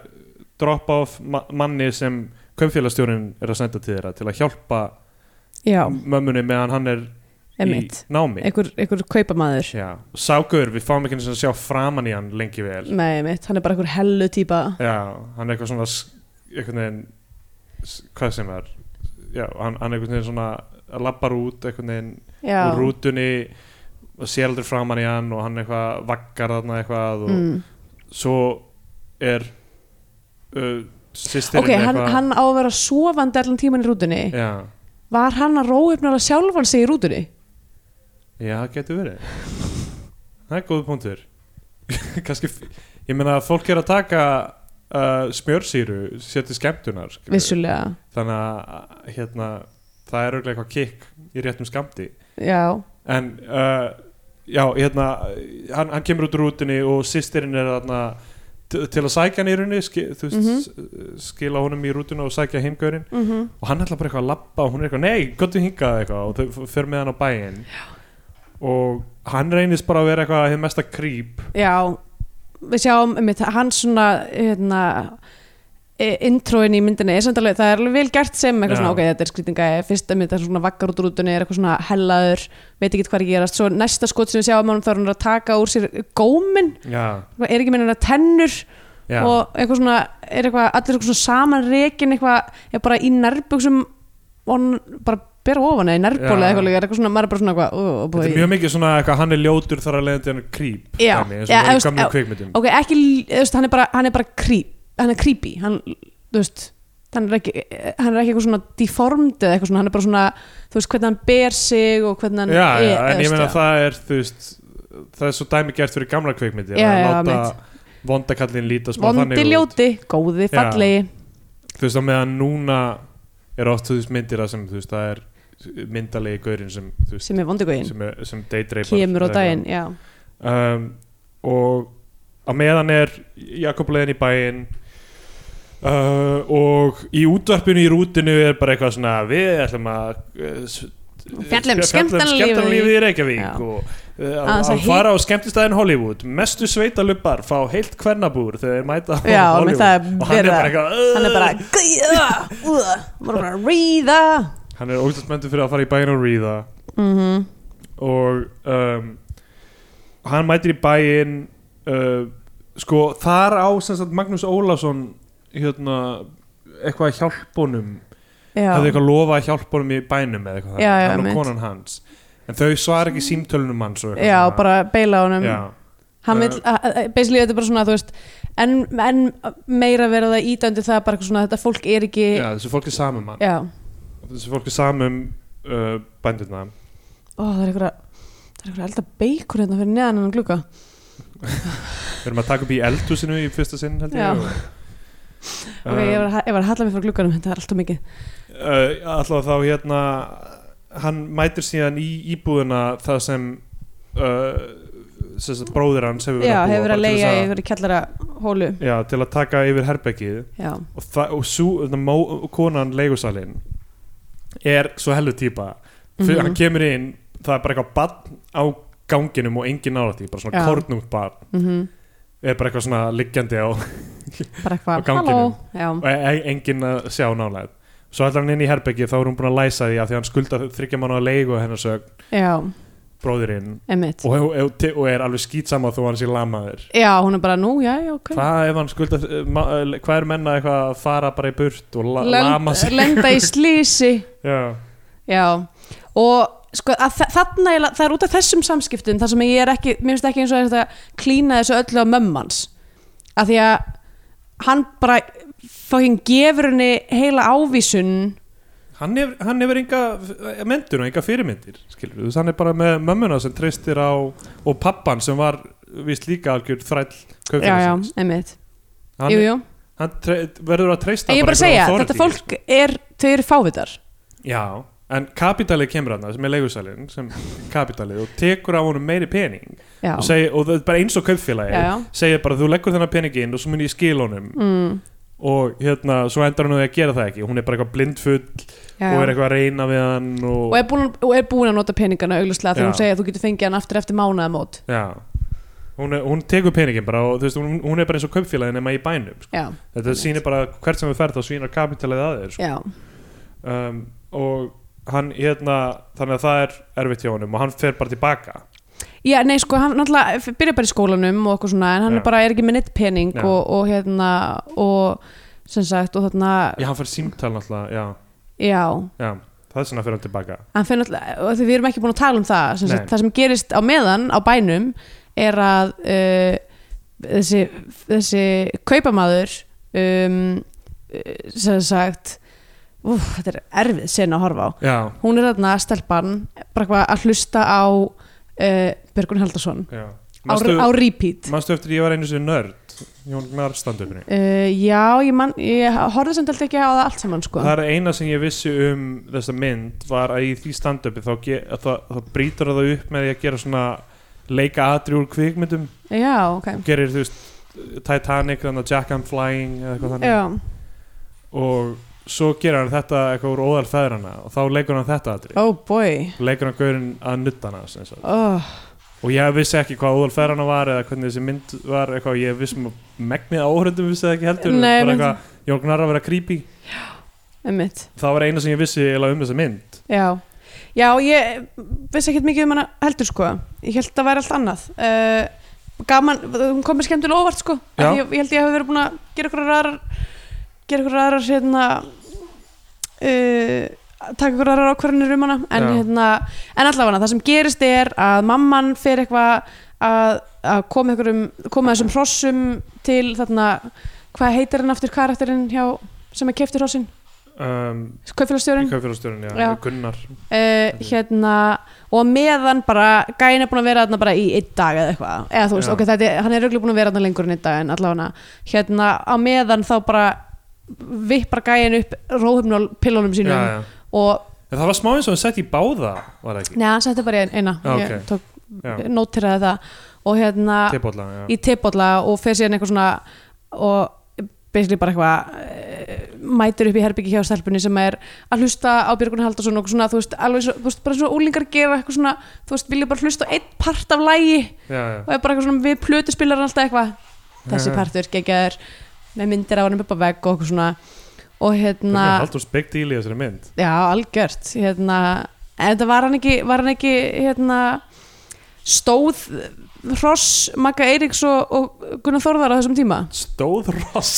S3: drop off ma manni sem kaupfélagstjórin er að senda til þeirra til að hjálpa
S2: já
S3: mömmunni meðan hann er
S2: emitt,
S3: í námi
S2: einhver, einhver kaupamaður
S3: Já, ságur, við fáum ekki eins og sjá framan í hann lengi vel
S2: nei, emitt, hann er bara einhver hellu típa
S3: Já, hann er eitthvað svona s- einhvern veginn, s- hvað sem er Já, hann, hann er einhvern veginn svona lappar út einhvern veginn
S2: já,
S3: úr rútunni og sér aldrei framan í hann og hann eitthvað vaggar þarna eitthvað og
S2: mm.
S3: svo er uh, sýstirinn
S2: ok, hann,
S3: eitthvað
S2: hann á að vera sofandi allan tíman í rútunni
S3: Já,
S2: var hann að róhefnara sjálfan sig í rútunni
S3: já, það getur verið Það er góð punktur Kanski, ég meina að fólk er að taka uh, smjörsýru sér til skemmtunar skilurðu.
S2: vissulega,
S3: þannig að hérna, það er auðvitað eitthvað kikk í réttum skamti
S2: já
S3: en uh, já, hérna hann, hann kemur út úr rútinni og sýstirinn er þarna til til að sækja hann í rauninni ski, þú veist,
S2: Mhm.
S3: s- skila honum í rútuna og sækja heimgörin
S2: mm -hmm.
S3: og hann ætla bara eitthvað að labba og hún er eitthvað, nei, gott við hingað eitthvað og þau f- fer með hann á bæinn og hann reynist bara að vera eitthvað hið mesta creep
S2: Já, við sjáum einmitt, hans svona hérna, e- introin í myndinni er samt alveg, það er alveg vel gert sem eitthvað
S3: Já.
S2: svona, ok, þetta er skrýtinga fyrst einmitt, það er svona vaggar út úr rútunni, er eitthvað svona hellaður veit ekki hvað er að gerast, svo næsta skot sem við sjáum hann þá er hann að taka úr sér gómin
S3: já,
S2: er ekki meina tennur
S3: já,
S2: og eitthvað svona, er eitthvað allir eitthvað svona saman rekin eitthvað, er bara í nærbuxum og hann bara bera ofan eða í nærbóli
S3: Já.
S2: eða eitthvað, líka, er eitthvað svona, maður er bara svona eitthvað, ó, ó,
S3: þetta er
S2: boy.
S3: mjög mikið svona eitthvað, hann er ljótur þar að leiðandi hann er creep
S2: Já,
S3: dæmi, eins
S2: já,
S3: og var
S2: þú
S3: í
S2: veist,
S3: gamlu
S2: já,
S3: kvikmyndum
S2: ok, ekki, þú veist, hann er bara hann er bara creep, hann er creepy hann, þú veist, hann er ekki hann er ekki eitthvað svona deformed eða eitthvað svona, hann er bara svona, þú veist, hvernig hann ber sig og hvernig hann
S3: já, já,
S2: er,
S3: en
S2: þú
S3: ég
S2: veist,
S3: meina
S2: já.
S3: það er þú veist, það er svo dæmi gert fyrir gamla kvikmyndi
S2: Já, já,
S3: að láta
S2: mitt.
S3: vondakallin líta smá
S2: vondi
S3: þannig út
S2: ljóti, góði,
S3: Já.
S2: fallegi
S3: þú veist að meðan núna er oft þú veist myndir að sem þú veist það er myndalegi gaurinn sem þú veist
S2: sem er vondi góðin,
S3: sem, er, sem daydreipar
S2: kemur á
S3: eða
S2: daginn já,
S3: eitthvað. um, og að meðan er Jakob leiðin í bæinn uh, og í útvarpinu í rútinu er bara eitthvað svona við ætlum að uh, s-
S2: Fjalla um skemmtanalífið í-
S3: skemmtanalífið í Reykjavík
S2: Já.
S3: og uh,
S2: Aðeins
S3: að,
S2: að
S3: að fara á skemmtistæðin Hollywood mestu sveitalubbar fá heilt kvernabúr þegar þeir mæta á
S2: Já, menn
S3: Hollywood
S2: það er
S3: og hann er
S2: verið
S3: bara
S2: að-
S3: eitthvað
S2: hann er
S3: "Ugh."
S2: bara gæða, úða, bara bara ríða
S3: hann er ógstast mentur fyrir að fara í bæinn og ríða
S2: mhm,
S3: og um, hann mætir í bæinn uh, sko þar á sem sagt Magnús Ólafsson hérna eitthvað að hjálpa honum
S2: já
S3: hefði eitthvað lofað að hjálpa honum í bænum eða
S2: Já,
S3: eitthvað þannig,
S2: já,
S3: hann
S2: einmitt.
S3: og konan hans en þau svara ekki símtölunum hans og eitthvað
S2: já,
S3: svona.
S2: bara um beila honum
S3: já,
S2: hann vil, uh, basically þetta er bara svona þú veist, en, en meira verið að íta undir það bara eitthvað svona þetta fólk er ekki
S3: já, þessu fólk er samum hann
S2: já.
S3: þessu fólk er samum uh, bændurna
S2: Ó, það er eitthvað það er eitthvað elda beikur hérna fyrir neðan hann glugga
S3: við erum að taka upp í eldhúsinu í fyrsta sinn held
S2: Já.
S3: ég og- um,
S2: ok, ég var, að ha- ég var að halla mig frá glugganum þetta er alltaf mikið
S3: uh, alltaf þá hérna hann mætir síðan í íbúðuna það sem uh, sem sagt bróðir hans hefur verið
S2: já,
S3: að búa
S2: hefur verið
S3: bara
S2: að
S3: til
S2: leiga
S3: þess
S2: í einhverju kjallara hólu
S3: já, til að taka yfir herbergið
S2: já,
S3: og, það- og sú, það, mó, konan leigusalinn er svo hellu típa fyrir
S2: Mhm.
S3: hann kemur inn, það er bara eitthvað barn á ganginum og engin nála því bara svona
S2: Já.
S3: kornungt barn
S2: mhm,
S3: er bara eitthvað svona liggjandi á og
S2: bara
S3: Á
S2: eitthvað
S3: ganginum.
S2: halló, já,
S3: e- e- engin að sjá nála svo ætlar hann inn í herbergið þá er hún búin að læsa því að því að hann skuldar þryggja mann á leigu hennar sög
S2: já,
S3: bróðirinn
S2: emitt
S3: og, og, og, og er alveg skýtsama þó hann sé lamaður
S2: já, hún er bara nú, já, já, ok
S3: hvað ef hann skulda hvað er menna eitthvað að fara bara í burt og la, lama sig
S2: lenda í slísi
S3: já,
S2: Já, og sko að þa- þarna, eiginlega- það er út af þessum samskiptum þar sem ég er ekki, mér finnst ekki eins og þetta klína þessu öllu á mömmans af því að hann bara fucking gefur henni heila ávísun
S3: hann hefur, hann hefur enga mentur og enga fyrirmyndir skilur þú, hann er bara með mömmuna sem treystir á og pappan sem var vist líka algjör þræll
S2: Já, já,
S3: kaupfélagsins.
S2: einmitt,
S3: hann,
S2: jú, jú
S3: hann tre, verður að treysta
S2: En ég er bara að segja,
S3: einhverjum
S2: þetta
S3: authority.
S2: fólk er, þau eru fávitar
S3: Já, en kapitalið kemur hann sem er leigusalinn, sem kapitalið og tekur af honum meiri pening
S2: Já,
S3: og, segi, og það er bara eins og kaupfélagi
S2: já, já
S3: segir bara þú leggur þennan peningin og svo mun ég skil honum
S2: Mm,
S3: og hérna, svo endar hann á því að gera það ekki hún er bara eitthvað blindfull
S2: já,
S3: og er
S2: já.
S3: eitthvað að reyna við hann og,
S2: Og er, búin, og er búin að nota peningana auglustlega
S3: Já.
S2: þegar hún segja að þú getur fengið hann aftur eftir mánaðamót
S3: já hún, er, hún tekur peningin bara og þú veist, hún, hún er bara eins og kaupfélagi nema í bænum sko.
S2: Já,
S3: þetta sýnir bara hvert sem við ferð þá svínar kapitalið að þér sko.
S2: já,
S3: um, og hann hérna þannig að það er erfitt hjá honum og hann fer bara tilbaka
S2: Já, nei, sko, hann náttúrulega f- byrjar bara í skólanum og eitthvað svona, en hann
S3: Já.
S2: er bara er ekki með neitt pening
S3: Já.
S2: og, og hérna og sem sagt, og þarna
S3: já, hann fer símtal náttúrulega, já
S2: já,
S3: Já, það er svona að fyrir hann tilbaka
S2: hann fyrir náttúrulega og því við erum ekki búin að tala um það sem sagt,
S3: Nei.
S2: það sem gerist á meðan á bænum er að uh, þessi, þessi kaupamaður um, uh, sem sagt úf, þetta er erfið sen að horfa á
S3: Já,
S2: hún er þarna stelpan bara eitthvað að hlusta á uh, Björgun Haldarsson
S3: já
S2: á,
S3: Manstu,
S2: á repeat
S3: manstu eftir ég var einu sinni nörd Jón Gnar standupinu
S2: Uh, já, ég, man, ég horfði samt alltaf ekki á það allt saman sko.
S3: Það er eina sem ég vissi um þessa mynd var að í því standupi þá, ge- að það, það brýtur það upp með því að gera svona leika atri úr kvikmyndum
S2: Já, ok
S3: gerir þú veist Titanic, þannig að Jack I'm Flying eða eitthvað þannig
S2: já,
S3: og svo gera hann þetta eitthvað úr óðal feðrana og þá leikur hann þetta aðri
S2: oh boy
S3: leikur hann gaurinn að nutta hana sem sagt.
S2: oh,
S3: og ég vissi ekki hvað óðal feðrana var eða hvernig þessi mynd var eitthvað, ég vissi að megnið áhörundum vissi það ekki heldur
S2: Nei,
S3: bara
S2: einmitt.
S3: eitthvað, Jón Gnarr að vera creepy
S2: einmitt,
S3: það var eina sem ég vissi eiginlega um þessa mynd
S2: já já, ég vissi ekkert mikið um hana heldur sko, ég held að væri allt annað uh, gaman, hún kom mér skemmtilega óvart sko, Af
S3: Já.
S2: því ég, ég held ég hafi verið búin að gera ykkur aðrar gera ykkur aðrar hérna uh, taka ykkur aðrar ákvarðanir um hana en,
S3: Já.
S2: hérna, en allavega það sem gerist er að mamman fer eitthvað að, að koma, ykkurum, koma þessum hrossum til þarna hvað heitir hann aftur karakterinn hjá sem er kefti hrossin,
S3: um,
S2: kaupfélagstjórinn
S3: í kaupfélagstjórun, já,
S2: Já.
S3: Gunnar
S2: uh,
S3: Mhm.
S2: hérna og á meðan bara gæin er búin að vera þarna bara í einn dag eða eitthvað eða þú veist,
S3: Já.
S2: ok, þetta er, hann er röglega búin að vera þarna lengur en einn dag en allavega hérna á meðan þá bara vippar gæin upp róhumn og pillunum
S3: já,
S2: sínum
S3: já.
S2: og
S3: En það var smá eins og hann sett í báða var það ekki?
S2: neða, hann setti bara í eina
S3: Já,
S2: ég
S3: ok.
S2: tók,
S3: Já.
S2: nótiraði það og hérna
S3: Tepólla, já.
S2: í tepólla og fer síðan eitthvað svona og basically bara eitthvað eh, mætir upp í herbyggi hjá stelpunni sem er að hlusta á Björgun Haldarsson og svona, þú veist, alveg svo, þú veist, bara svo úlingar gera eitthvað svona, þú veist, vilja bara hlusta á einn part af lægi
S3: já, já.
S2: og er bara eitthvað svona við plötuspilarar alltaf eitthvað þessi partur geggjaður með myndir af hann upp á vegg og eitthvað svona og hérna
S3: Hvernig er Halldórs big deal í þessari mynd?
S2: Já, algjört hérna, En þetta var hann ekki, var hann ekki hérna, stóð Hross, Magga Eiríks og, og Gunnar Þórðar á þessum tíma
S3: Stóð Ross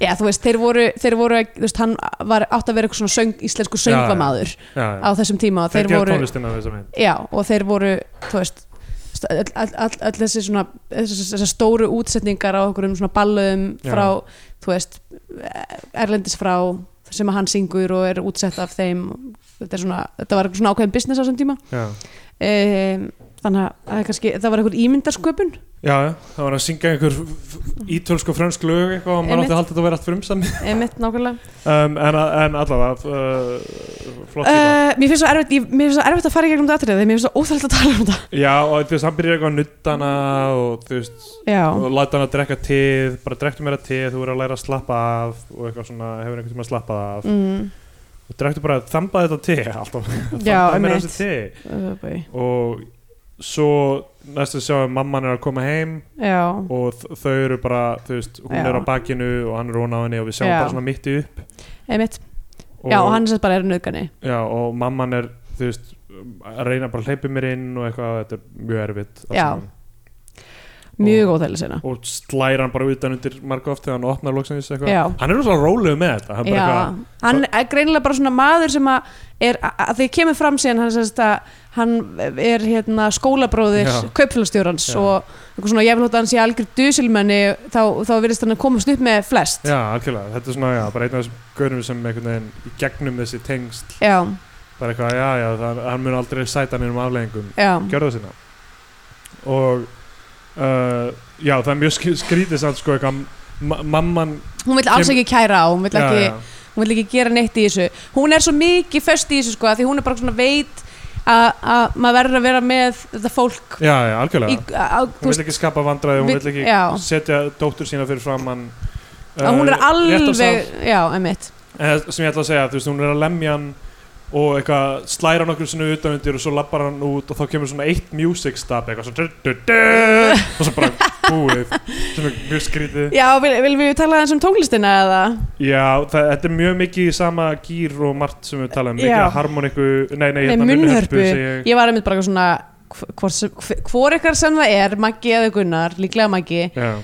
S2: Já, þú veist, þeir voru, þeir voru þú veist, hann var átt að vera eitthvað svona söng, íslensku
S3: Já, já.
S2: söngvamaður
S3: já,
S2: á þessum tíma og
S3: Þeir
S2: þeir
S3: gera
S2: voru,
S3: tónlistina á þessari mynd
S2: já, og þeir voru þú veist st- öll öll- öll- öll þessi svona þessi stóru útsetningar á okkur um svona ballum
S3: Já.
S2: frá, þú veist erlendis frá sem að hann syngur og er útsett af þeim þetta, er svona, þetta var svona ákveðin business á þessum tíma
S3: Já,
S2: um, þannig að það er kannski, það var einhver ímyndarsköpun
S3: já, já. það var að syngja einhver f- f- ítölsk og frönsk lög eitthvað og maður
S2: Einmitt.
S3: átti að halda þetta að vera allt frumsami
S2: mitt nákvæmlega
S3: um, en, en allavega uh, flott í það
S2: uh, mér finnst svo erfitt, ég, mér finnst svo erfitt að fara í gegnum þetta atriði, mér finnst svo óþægt að tala um þetta
S3: Já, og þú veist, hann byrjar eitthvað að nutta hana og þú veist,
S2: já,
S3: og láta hann að drekka tíð bara drekktu meira tíð, þú verður að læra að slappa af og eitthvað svona, hefur einhvern tíma að slappa af
S2: mm,
S3: og drekktu bara að þamba þetta tíð alltaf,
S2: já,
S3: þamba meira
S2: mitt
S3: þessi tíð
S2: uh,
S3: og svo næstu sjáum við mamman er að koma heim
S2: já,
S3: og þ- þau eru bara, þú veist, hún
S2: Já.
S3: er á bakinu og hann er hún á henni og við sjáum
S2: Já.
S3: bara svona mitti upp
S2: einmitt
S3: og,
S2: já, og hann sem bara er nöðgani
S3: já, og mamman er, þú veist, að reyna bara að hleypa mér inn og eitthvað, þetta er mjög erfitt allt
S2: Já.
S3: saman.
S2: mjög óþægileg sena
S3: og slæra hann bara utan undir marga oft þegar hann opnar loksins eitthvað
S2: Já.
S3: hann er svona rólegur með þetta hann bara
S2: Já, hann er greinilega bara svona maður sem að er, að því kemur fram síðan hann, sérst, að hann er hérna, skólabróðir
S3: Já.
S2: kaupfélagstjórans
S3: Já.
S2: og eitthvað svona jafnlótt að hann sé algjör dusilmenni þá, þá virðist hann að komast upp með flest
S3: Já, algjörlega, þetta er svona, já, bara einn af þessum gaurum sem einhvern veginn í gegnum þessi tengst
S2: já,
S3: bara eitthvað, já, já, það, hann mun aldrei sæta hann um afleðingum
S2: já,
S3: gjörða sinna og uh, já það er mjög sk- skrítið samt sko eitthvað ma- mamman
S2: hún vil alls
S3: Kem-
S2: ekki kæra á hún vil
S3: já,
S2: ekki,
S3: já,
S2: hún vill ekki gera neitt í þessu hún er svo mikið föst í þessu sko að því hún er bara svona veit að, að maður verður að vera með þetta fólk
S3: já, já, algjörlega
S2: í, að, að,
S3: hún vil ekki skapa vandræði, hún
S2: Vill-
S3: vil ekki
S2: já.
S3: setja dóttur sína fyrir uh, framann
S2: að hún er
S3: réttarsal.
S2: alveg já, emitt
S3: En það Eh, sem ég ætla að segja, þú veist, hún er að lemja hann og eitthvað slæra hann okkur sinni utanundir og svo lappar hann út og þá kemur svona eitt music stab eitthvað svona du, du, du, og svo bara búið sem er mjög skrítið
S2: já, vil, viljum við tala eins um tónlistina eða
S3: Já, það, þetta er mjög mikið í sama gýr og margt sem við talaðum, mikið
S2: Já.
S3: af harmoniku, nei, nei,
S2: Nei,
S3: hérna
S2: munnhörpu.
S3: segi ég.
S2: ég var einmitt bara eitthvað svona hv- hvort sem- hv- hvor ykkar sem það er, Maggi eða Gunnar líklega Maggi,
S3: Já,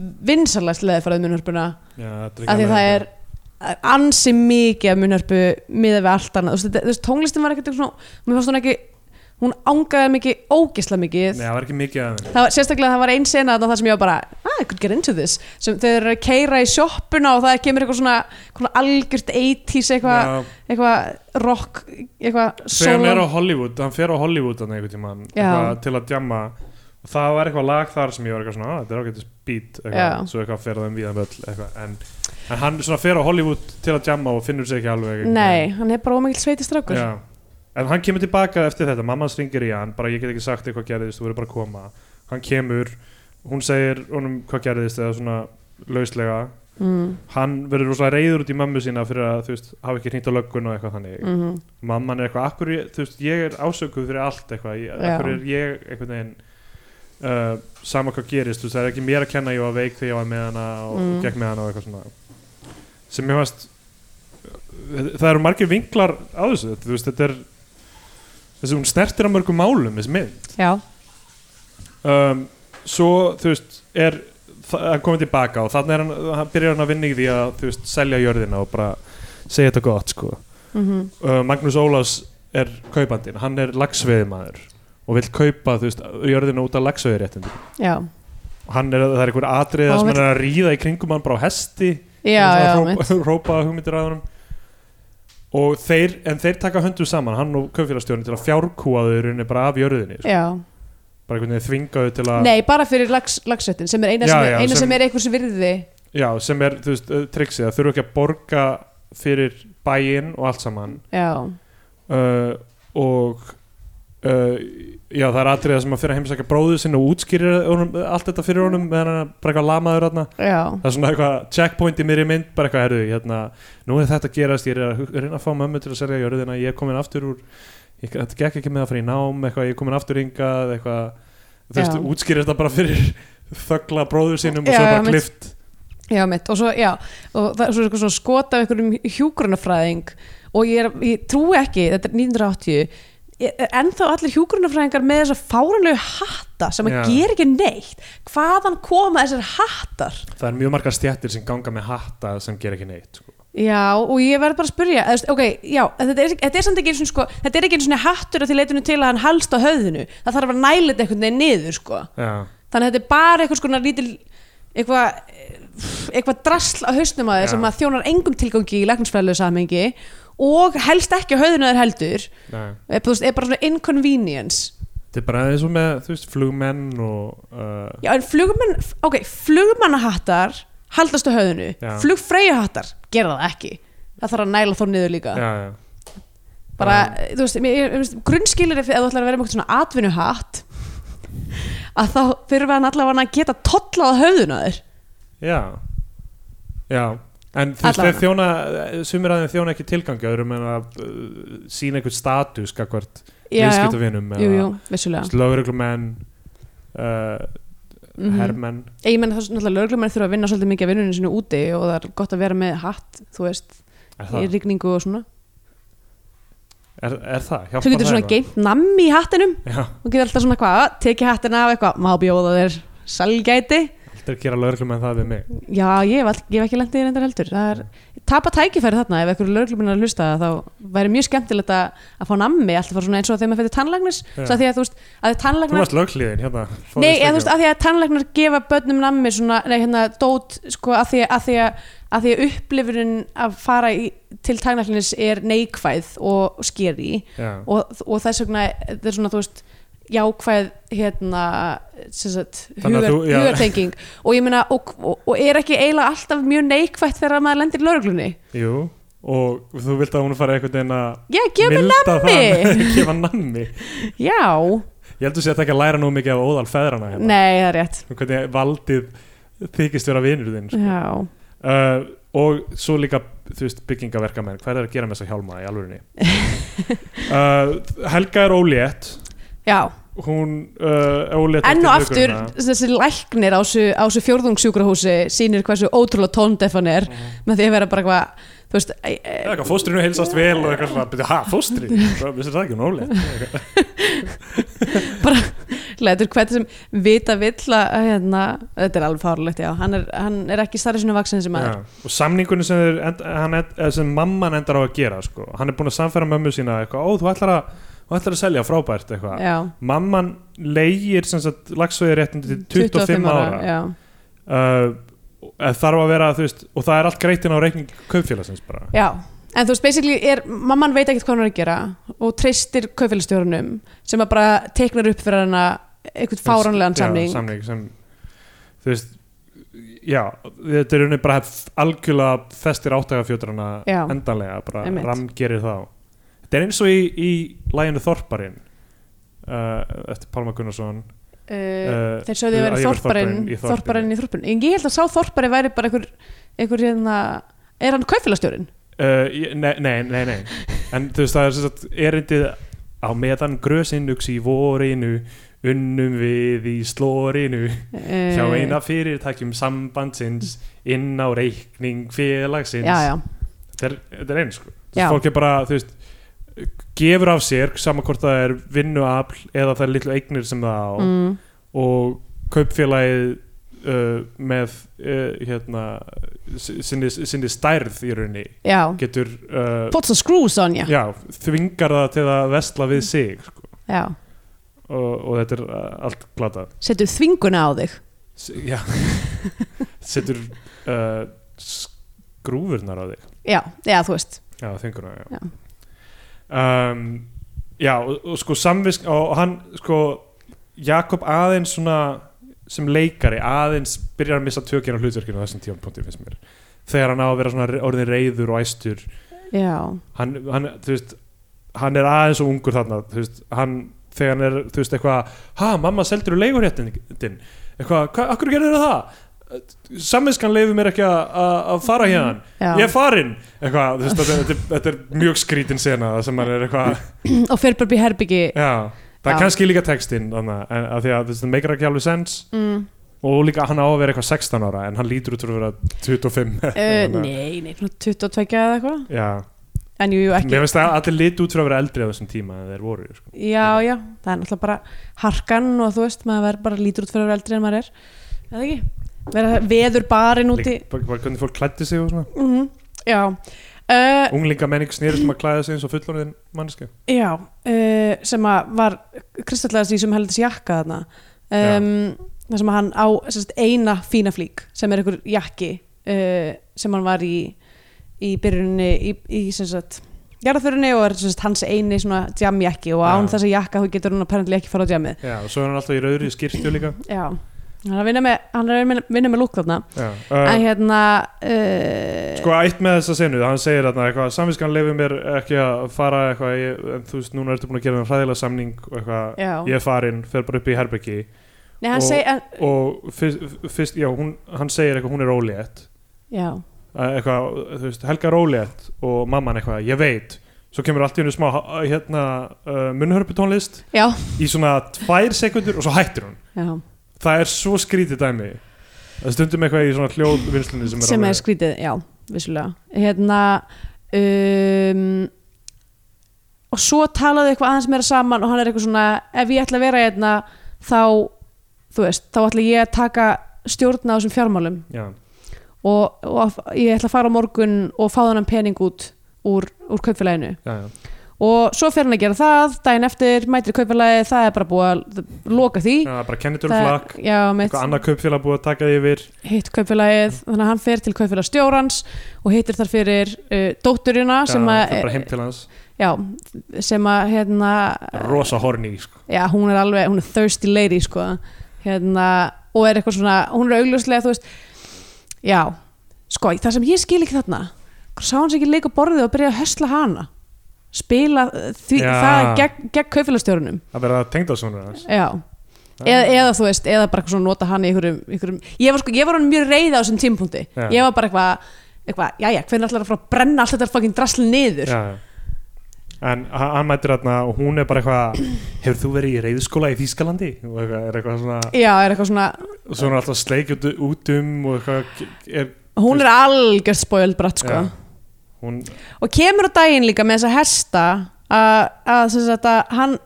S2: vinsalast leðfarað munnhörpuna,
S3: já, þetta er
S2: af því
S3: alveg
S2: það
S3: þetta.
S2: er ansi mikið af munnhörpu miða við allt annað, þú veist, þetta- þú veist, tónlistin var ekkert eitthvað svona, mér fannst hún ekki hún angaði mikið, ógisla mikið
S3: Nei, það var ekki mikið af henni
S2: það var, sérstaklega það var ein sena þarna þar sem ég var bara ah, I could get into this sem þau eru að keira í sjoppuna og það kemur eitthvað svona, svona algjört 80s eitthvað
S3: Já,
S2: eitthva rock eitthvað
S3: Þegar hann er á
S2: solo
S3: Hollywood, hann fer á Hollywood hann einhvern tímann
S2: Já.
S3: eitthvað til að djamma og það var eitthvað lag þar sem ég var eitthvað svona, "Ah, þetta er ágættis beat
S2: Já.
S3: eitthvað, svo eitthvað fer það um víðan völl eitthvað, en, en hann svona fer á Hollywood til að djamma og finnur sér ekki alveg einhvern
S2: nei, hann er bara ómengil sveitistrákur
S3: Já. En hann kemur tilbaka eftir þetta, mamma hans ringir í hann, bara ég get ekki sagt eitthvað gerðist, þú verður bara að koma. Hann kemur hún segir honum hvað gerðist eða svona lauslega
S2: mm,
S3: hann verður rosalega reyður út í mömmu sína fyrir að þú veist, hafa ekki hringt á löggun og eitthvað þannig
S2: mm
S3: mamman er eitthvað, akkur, þú veist, ég er ásökuð fyrir allt eitthvað, ég-
S2: Já.
S3: akkur er ég einhvern veginn uh, sama hvað gerist, þú veist, það er ekki mér að kenna ég var veik þegar ég var með hana og
S2: Mm.
S3: gekk með hana og eitthvað svona sem ég veist það eru margir vinklar á þessu þú veist, þetta er þessi, hún snertir á mörgum málum, þessi mynd
S2: já,
S3: um, svo þú veist er þa- hann komið tilbaka og þannig er hann, hann byrjar hann að vinna í því að þú veist selja jörðina og bara segja þetta gott sko
S2: mm
S3: uh, Magnús Ólafs er kaupandinn, hann er lagsveiðmaður og vill kaupa þú veist jörðina út af lagsveiðréttindi
S2: já hann
S3: hann er, það er einhver atriða
S2: Og
S3: sem
S2: hann
S3: hann er að ríða í kringum hann bara á hesti
S2: já,
S3: og
S2: já,
S3: svona
S2: mitt.
S3: hrópa, hrópa hugmyndir að honum og þeir, en þeir taka höndum saman hann og kaupfélagstjórnin til að fjárkúa þau í rauninni bara af jörðinni, sko.
S2: já.
S3: bara einhvern veginn þvinga þau til að
S2: nei, bara fyrir lags, lagsvettin sem er eina,
S3: Já,
S2: sem, er,
S3: já,
S2: eina sem,
S3: sem-
S2: er einhvers virði
S3: Já, sem er, þú veist, uh, trixið að þurfa ekki að borga fyrir bæinn og allt saman
S2: já,
S3: uh, og uh, já, það er atriða sem að fyrir að heimsækja bróðu sinni og útskýrir honum, eh, allt þetta fyrir honum meðan hann er bara eitthvað lamaður þarna
S2: já,
S3: það er svona eitthvað checkpoint í mér í mynd bara eitthvað, herðu, hérna, nú er þetta að gerast ég er að hu- reyna að fá mömmu til að selja jörðina ég er komin aftur úr, ég, þetta gekk ekki með að fara í nám eitthvað, ég er komin aftur hingað eitthvað, þú veist,
S2: Já.
S3: útskýrir þetta bara fyrir þögla bróður sínum og
S2: Já,
S3: svo
S2: já,
S3: bara
S2: mitt.
S3: klift
S2: já, mitt og svo, já, og það er svo eitthvað svona skot af einhverjum hjúgrunafræðing og ég, er, ég trúi ekki, þetta er 1980 ég- e, ennþá allir hjúgrunafræðingar með þessa fáranlegu hatta sem
S3: Já.
S2: að gera ekki neitt hvaðan koma þessar hattar
S3: Það er mjög margar stjættir sem ganga með hatta sem ger ekki neitt sko.
S2: Já, og ég verð bara að spyrja eða, þú veist, ok, já, en þetta er, þetta er samt ekki einu sinni, sko, þetta er ekki einu svona hattur að því leitinu til að hann halst á höfðinu, það þarf að næla þetta einhvern veginn niður, sko,
S3: Já,
S2: þannig að þetta er bara eitthvað skona lítil eitthvað eh, eitthvað drasl á hausnum að
S3: Já.
S2: þess sem að þjónar engum tilgangi í læknisfræðilegu samhengi og helst ekki á höfðinu þær heldur
S3: nei
S2: er, þú veist, er bara svona inconvenience
S3: Þetta er bara eins og með, þú veist, flugmenn og uh,
S2: Já, en flugmann, ok, flugmannahattar haldast á höfðinu,
S3: Já.
S2: flugfreyjuhattar gera það ekki, það þarf að næla þó niður líka
S3: já, já.
S2: bara, þú veist, mér, ég- ég veist grunnskilir ef ef þú ætlar að vera með eitthvað svona atvinnuhatt að þá þurfa hann allavega að geta tollað á höfðuna þér
S3: já Já, en þú veist,
S2: Allavega.
S3: þeir þjóna sumir að þeim þjóna ekki tilgangi öðrum en að uh, sína einhvern status gagvart
S2: já, já,
S3: viðskiptavinum
S2: jú, jú, vissulega
S3: lögreglumenn uh,
S2: mm
S3: hermenn
S2: ég menna það er náttúrulega lögreglumenn þurfa að vinna svolítið mikið af vinnunum sinu úti og það er gott að vera með hatt, þú veist,
S3: Er
S2: í
S3: það?
S2: rigningu og svona
S3: Er, er það? Hjálpar
S2: þú getur
S3: það
S2: svona
S3: eitthvað?
S2: geimt nammi í hattinum
S3: Já,
S2: og getur alltaf svona hvað, tekið hattina af eitthvað má bjóða þér salgæti
S3: aldrei gera lögreglumenn það við mig
S2: já, ég hef, all, ég hef ekki lendið í reyndar heldur það er, tapa tækifæri þarna ef einhverju lögregluminn er að hlusta þá væri mjög skemmtilegt að, að fá nammi alltaf bara svona eins og þegar maður fyrir tannlagnis
S3: Já.
S2: svo að því að þú veist, að
S3: Þú
S2: tannlagnar
S3: varst löghlíðin, hérna fá
S2: nei,
S3: þér
S2: eða þú
S3: steikjað.
S2: veist, að því að tannlagnar gefa börnum nammi svona, nei, hérna, dót sko, að því að, því að, að því að upplifurinn að fara í, til tannlagnis er neikvæð og skeri
S3: Já.
S2: og, og þess vegna þetta er svona, þú veist jákvæð hérna sem sagt,
S3: Þannig að
S2: hugar,
S3: þú- já.
S2: hugartenging og ég meina, og, og, og er ekki eiginlega alltaf mjög neikvætt þegar maður lendir í lauruglunni
S3: Jú, og þú vilt að hún fara einhvern veginn að
S2: já, gef mér
S3: milda
S2: nammi
S3: það, gefa nammi
S2: já,
S3: Ég heldur sér að þetta ekki að læra nú mikið af óðal feðrana hérna
S2: nei, það er rétt
S3: um hvernig valdið þykist vera vinur þinn sko.
S2: já,
S3: uh, og svo líka þú veist, byggingaverkamenn, hvað er að gera með þessa hjálma í alvörinni uh, Helga er ólétt
S2: já,
S3: hún uh, er ólétt
S2: enn
S3: eftir
S2: og aftur
S3: tökuna.
S2: þessi læknir á þessu, á þessu fjórðungssjúkrahúsi sýnir hversu ótrúlega tóndef hann er
S3: Mhm.
S2: með því að vera bara eitthvað þú veist, e- e-
S3: Já, eitthvað, fóstrinu heilsast vel og eitthvað svona, byrja, ha, fóstri, hvað, vissir það ekki, hún er ólétt
S2: bara lætur hvert sem vita vill að hérna, þetta er alveg fárlegt já, hann er, hann er ekki starri svona vaksin sem maður
S3: Já, og samningunni sem, þeir end, hann end, eh, sem mamman endar á að gera sko. hann er búin að samfæra mömmu sína eitthvað, ó þú ætlar að, þú ætlar að selja frábært eitthvað.
S2: já,
S3: mamman leigir sem sagt lagsvegi til 25, ára,
S2: já,
S3: Uh, eh, þarf að vera þú veist, og það er allt greitin á reikning kaupfélagsins bara
S2: já En þú veist, basically, er, mamman veit ekkert hvað hann er að gera og treystir kaufélagstjórnum sem að bara teiknar upp fyrir hana einhvern fáránlegan
S3: Já,
S2: samning.
S3: samning sem, þú veist já, þetta er unni bara algjörlega festir áttægafjótrana
S2: Já.
S3: endanlega, bara
S2: Einmitt.
S3: ramgerir þá þetta er eins og í, í læginu Þorparinn uh, eftir Pálma eh, Gunnarsson
S2: uh,
S3: Eh,
S2: þeir sögðu að vera
S3: að ég væri
S2: þorparinn
S3: þorparinn í þorpinu.
S2: þorparinn í þorparinn, en ég held að sá þorparinn væri bara einhver, einhver hérna er hann kaupfélagstjórin?
S3: Uh, ég- nei, nei, nei, nei En þú veist, það er sem sagt erindið Á meðan grösinugs í vorinu Unnum við í slórinu
S2: Eh,
S3: Hjá eina fyrirtækjum sambandsins Inn á reikning félagsins
S2: já, já,
S3: Þetta er, þetta er eins sko.
S2: Já.
S3: Þú veist, Fólk er bara, þú veist Gefur af sér, saman hvort það er vinnuafl Eða það er litlu eignir sem það á
S2: mm,
S3: Og kaupfélagið uh, Með uh, hérna, si- sinni, sinni stærð Í rauninni
S2: já.
S3: getur uh,
S2: Pots of screws on you já, Mm.
S3: já, þvingar það til að vesla við sig sko.
S2: já.
S3: og, og þetta er uh, allt glata
S2: setur þvinguna á þig
S3: S já setur uh, skrúfurnar á þig
S2: já, já, þú veist
S3: já, þvinguna já.
S2: Já.
S3: Um, já, og, og sko samvisk og, og hann, sko Jakob aðeins svona sem leikari aðeins byrjar að missa tökina á hlutverkinu á þessum tímanpunkti finnst mér þegar hann á að vera svona re- orðinn reyður og æstur
S2: já,
S3: hann, hann, þú veist, hann er aðeins og ungur þarna þú veist, hann, þegar hann er þú veist, eitthvað, ha, mamma seldur úr leiguréttin þinn?" eitthvað, hvað, akkur gerir það samvinskan leifir mér ekki að- að að fara hérna
S2: Mm, já.
S3: ég er farin eitthvað, þú veist, þetta, þetta, er- þetta er mjög skrítin sena þar sem hann er eitthvað
S2: og fer bara upp í herbyggi
S3: já, það er
S2: Já.
S3: kannski líka textinn þarna, en að því að þú veist, það meikar ekki alveg sens
S2: mm,
S3: og líka hann á að vera eitthvað 16 ára en hann lítur út fyrir að vera 25
S2: uh,
S3: Þannig að-
S2: nei, nei, svona 22 eða eitthvað
S3: já,
S2: en jú, jú, ekki
S3: mér finnst að allir lítu út fyrir að vera eldri á þessum tíma en þeir voru sko.
S2: já, já, það er náttúrulega bara harkan og þú veist, maður verður bara lítur út fyrir að vera eldri en maður er, eða ekki vera veður barinn úti
S3: Líka, bara, bara hvernig fólk klætti sig og svona
S2: mm já uh,
S3: Unglinga menning snýrist um að klæða sig eins og fullorðin mannski
S2: já, uh, sem að var kristallegast í sem heldis jakka þarna um, þar sem að hann á sérst, eina fína flík sem er einhver jakki uh, sem hann var í í byrjunni í, í sem sagt jarðförunni og er sem sagt, hans eini svona jamjakki og án
S3: Já.
S2: þessa jakka hún getur hann apparently ekki fara á jammið
S3: Já, og svo er hann alltaf í rauðri skýrstu líka
S2: Já, hann er að vinna með, hann er að vinna- vinna með lúk þarna
S3: Já,
S2: En
S3: uh,
S2: hérna uh,
S3: Sko, eitt með þessa senu, hann segir þarna eitthvað Samviskan leifir mér ekki að fara eitthvað ég, En þú veist, núna ertu búin að gera hann hræðilega samning Og eitthvað,
S2: Já,
S3: ég er farin, fer bara upp í herbyggi
S2: nei hann
S3: og-
S2: segi en,
S3: Og fyrst, fyrst já, hún, hann segir eitthvað, hún er ólétt
S2: Já,
S3: Að eitthvað, þú veist, Helga er ólétt Og mamman eitthvað, ég veit Svo kemur allt í hennu smá, ha- hérna, uh, munnhörputónlist
S2: já,
S3: Í svona tvær sekundur og svo hættir hún
S2: já
S3: það er svo skrítið dæmi það stundum eitthvað í svona hljóðvinslunni sem er,
S2: sem er
S3: alveg-
S2: skrítið, já, vissulega Hérna um, Og svo talaðu eitthvað aðeins meira saman og hann er eitthvað svona ef ég ætla að vera hérna þá, þú veist, þá ætla ég að taka stjórna á þessum fjármálum
S3: já,
S2: og, og ég ætla að fara á morgun og fá þannan pening út úr, úr kaupfélaginu
S3: já, já.
S2: og svo fer hann að gera það daginn eftir, mætir í kaupalagi það er bara búið að loka því
S3: Já, bara kennitur
S2: Það-
S3: flakk
S2: já, mitt,
S3: eitthvað annað kaupfélag búið að taka því yfir
S2: hitt kaupalagið þannig að hann fer til kaupalagsstjórans og hittir þar fyrir uh, dótturina sem
S3: það
S2: að, eh,
S3: er bara heim til hans
S2: já, sem að hérna,
S3: rosa horni sko.
S2: já, hún er alveg hún er thirsty lady, sko hérna, og er eitthvað svona, hún er augljóslega þú veist, já sko, það sem ég skil ekki þarna sá hann sér ekki leika borðið og byrja að hösla hana spila uh, því,
S3: Já.
S2: það gegn, gegn kaupfélagstjórnum
S3: að vera tengdarsonur hans
S2: já eða, eða þú veist, eða bara eitthvað svona nota hann í einhverjum, einhverjum ég var sko, ég var hann mjög reyð á þessum tímpunkti
S3: Já.
S2: ég var bara eitthvað, eitthvað, jæja, hvernig ætlar að fara að brenna allt þetta fucking drasl niður
S3: já. en h- hann mætir þarna og hún er bara eitthvað hefur þú verið í reyðskóla í Þýskalandi og eitthvað, er eitthvað svona
S2: já, er eitthvað svona,
S3: og svo er hann alltaf sleikjut út um og eitthvað er,
S2: hún er algjörð spoiled bratt sko,
S3: Já. hún,
S2: og kemur á daginn líka með þessa hesta að, að sem sagt að hann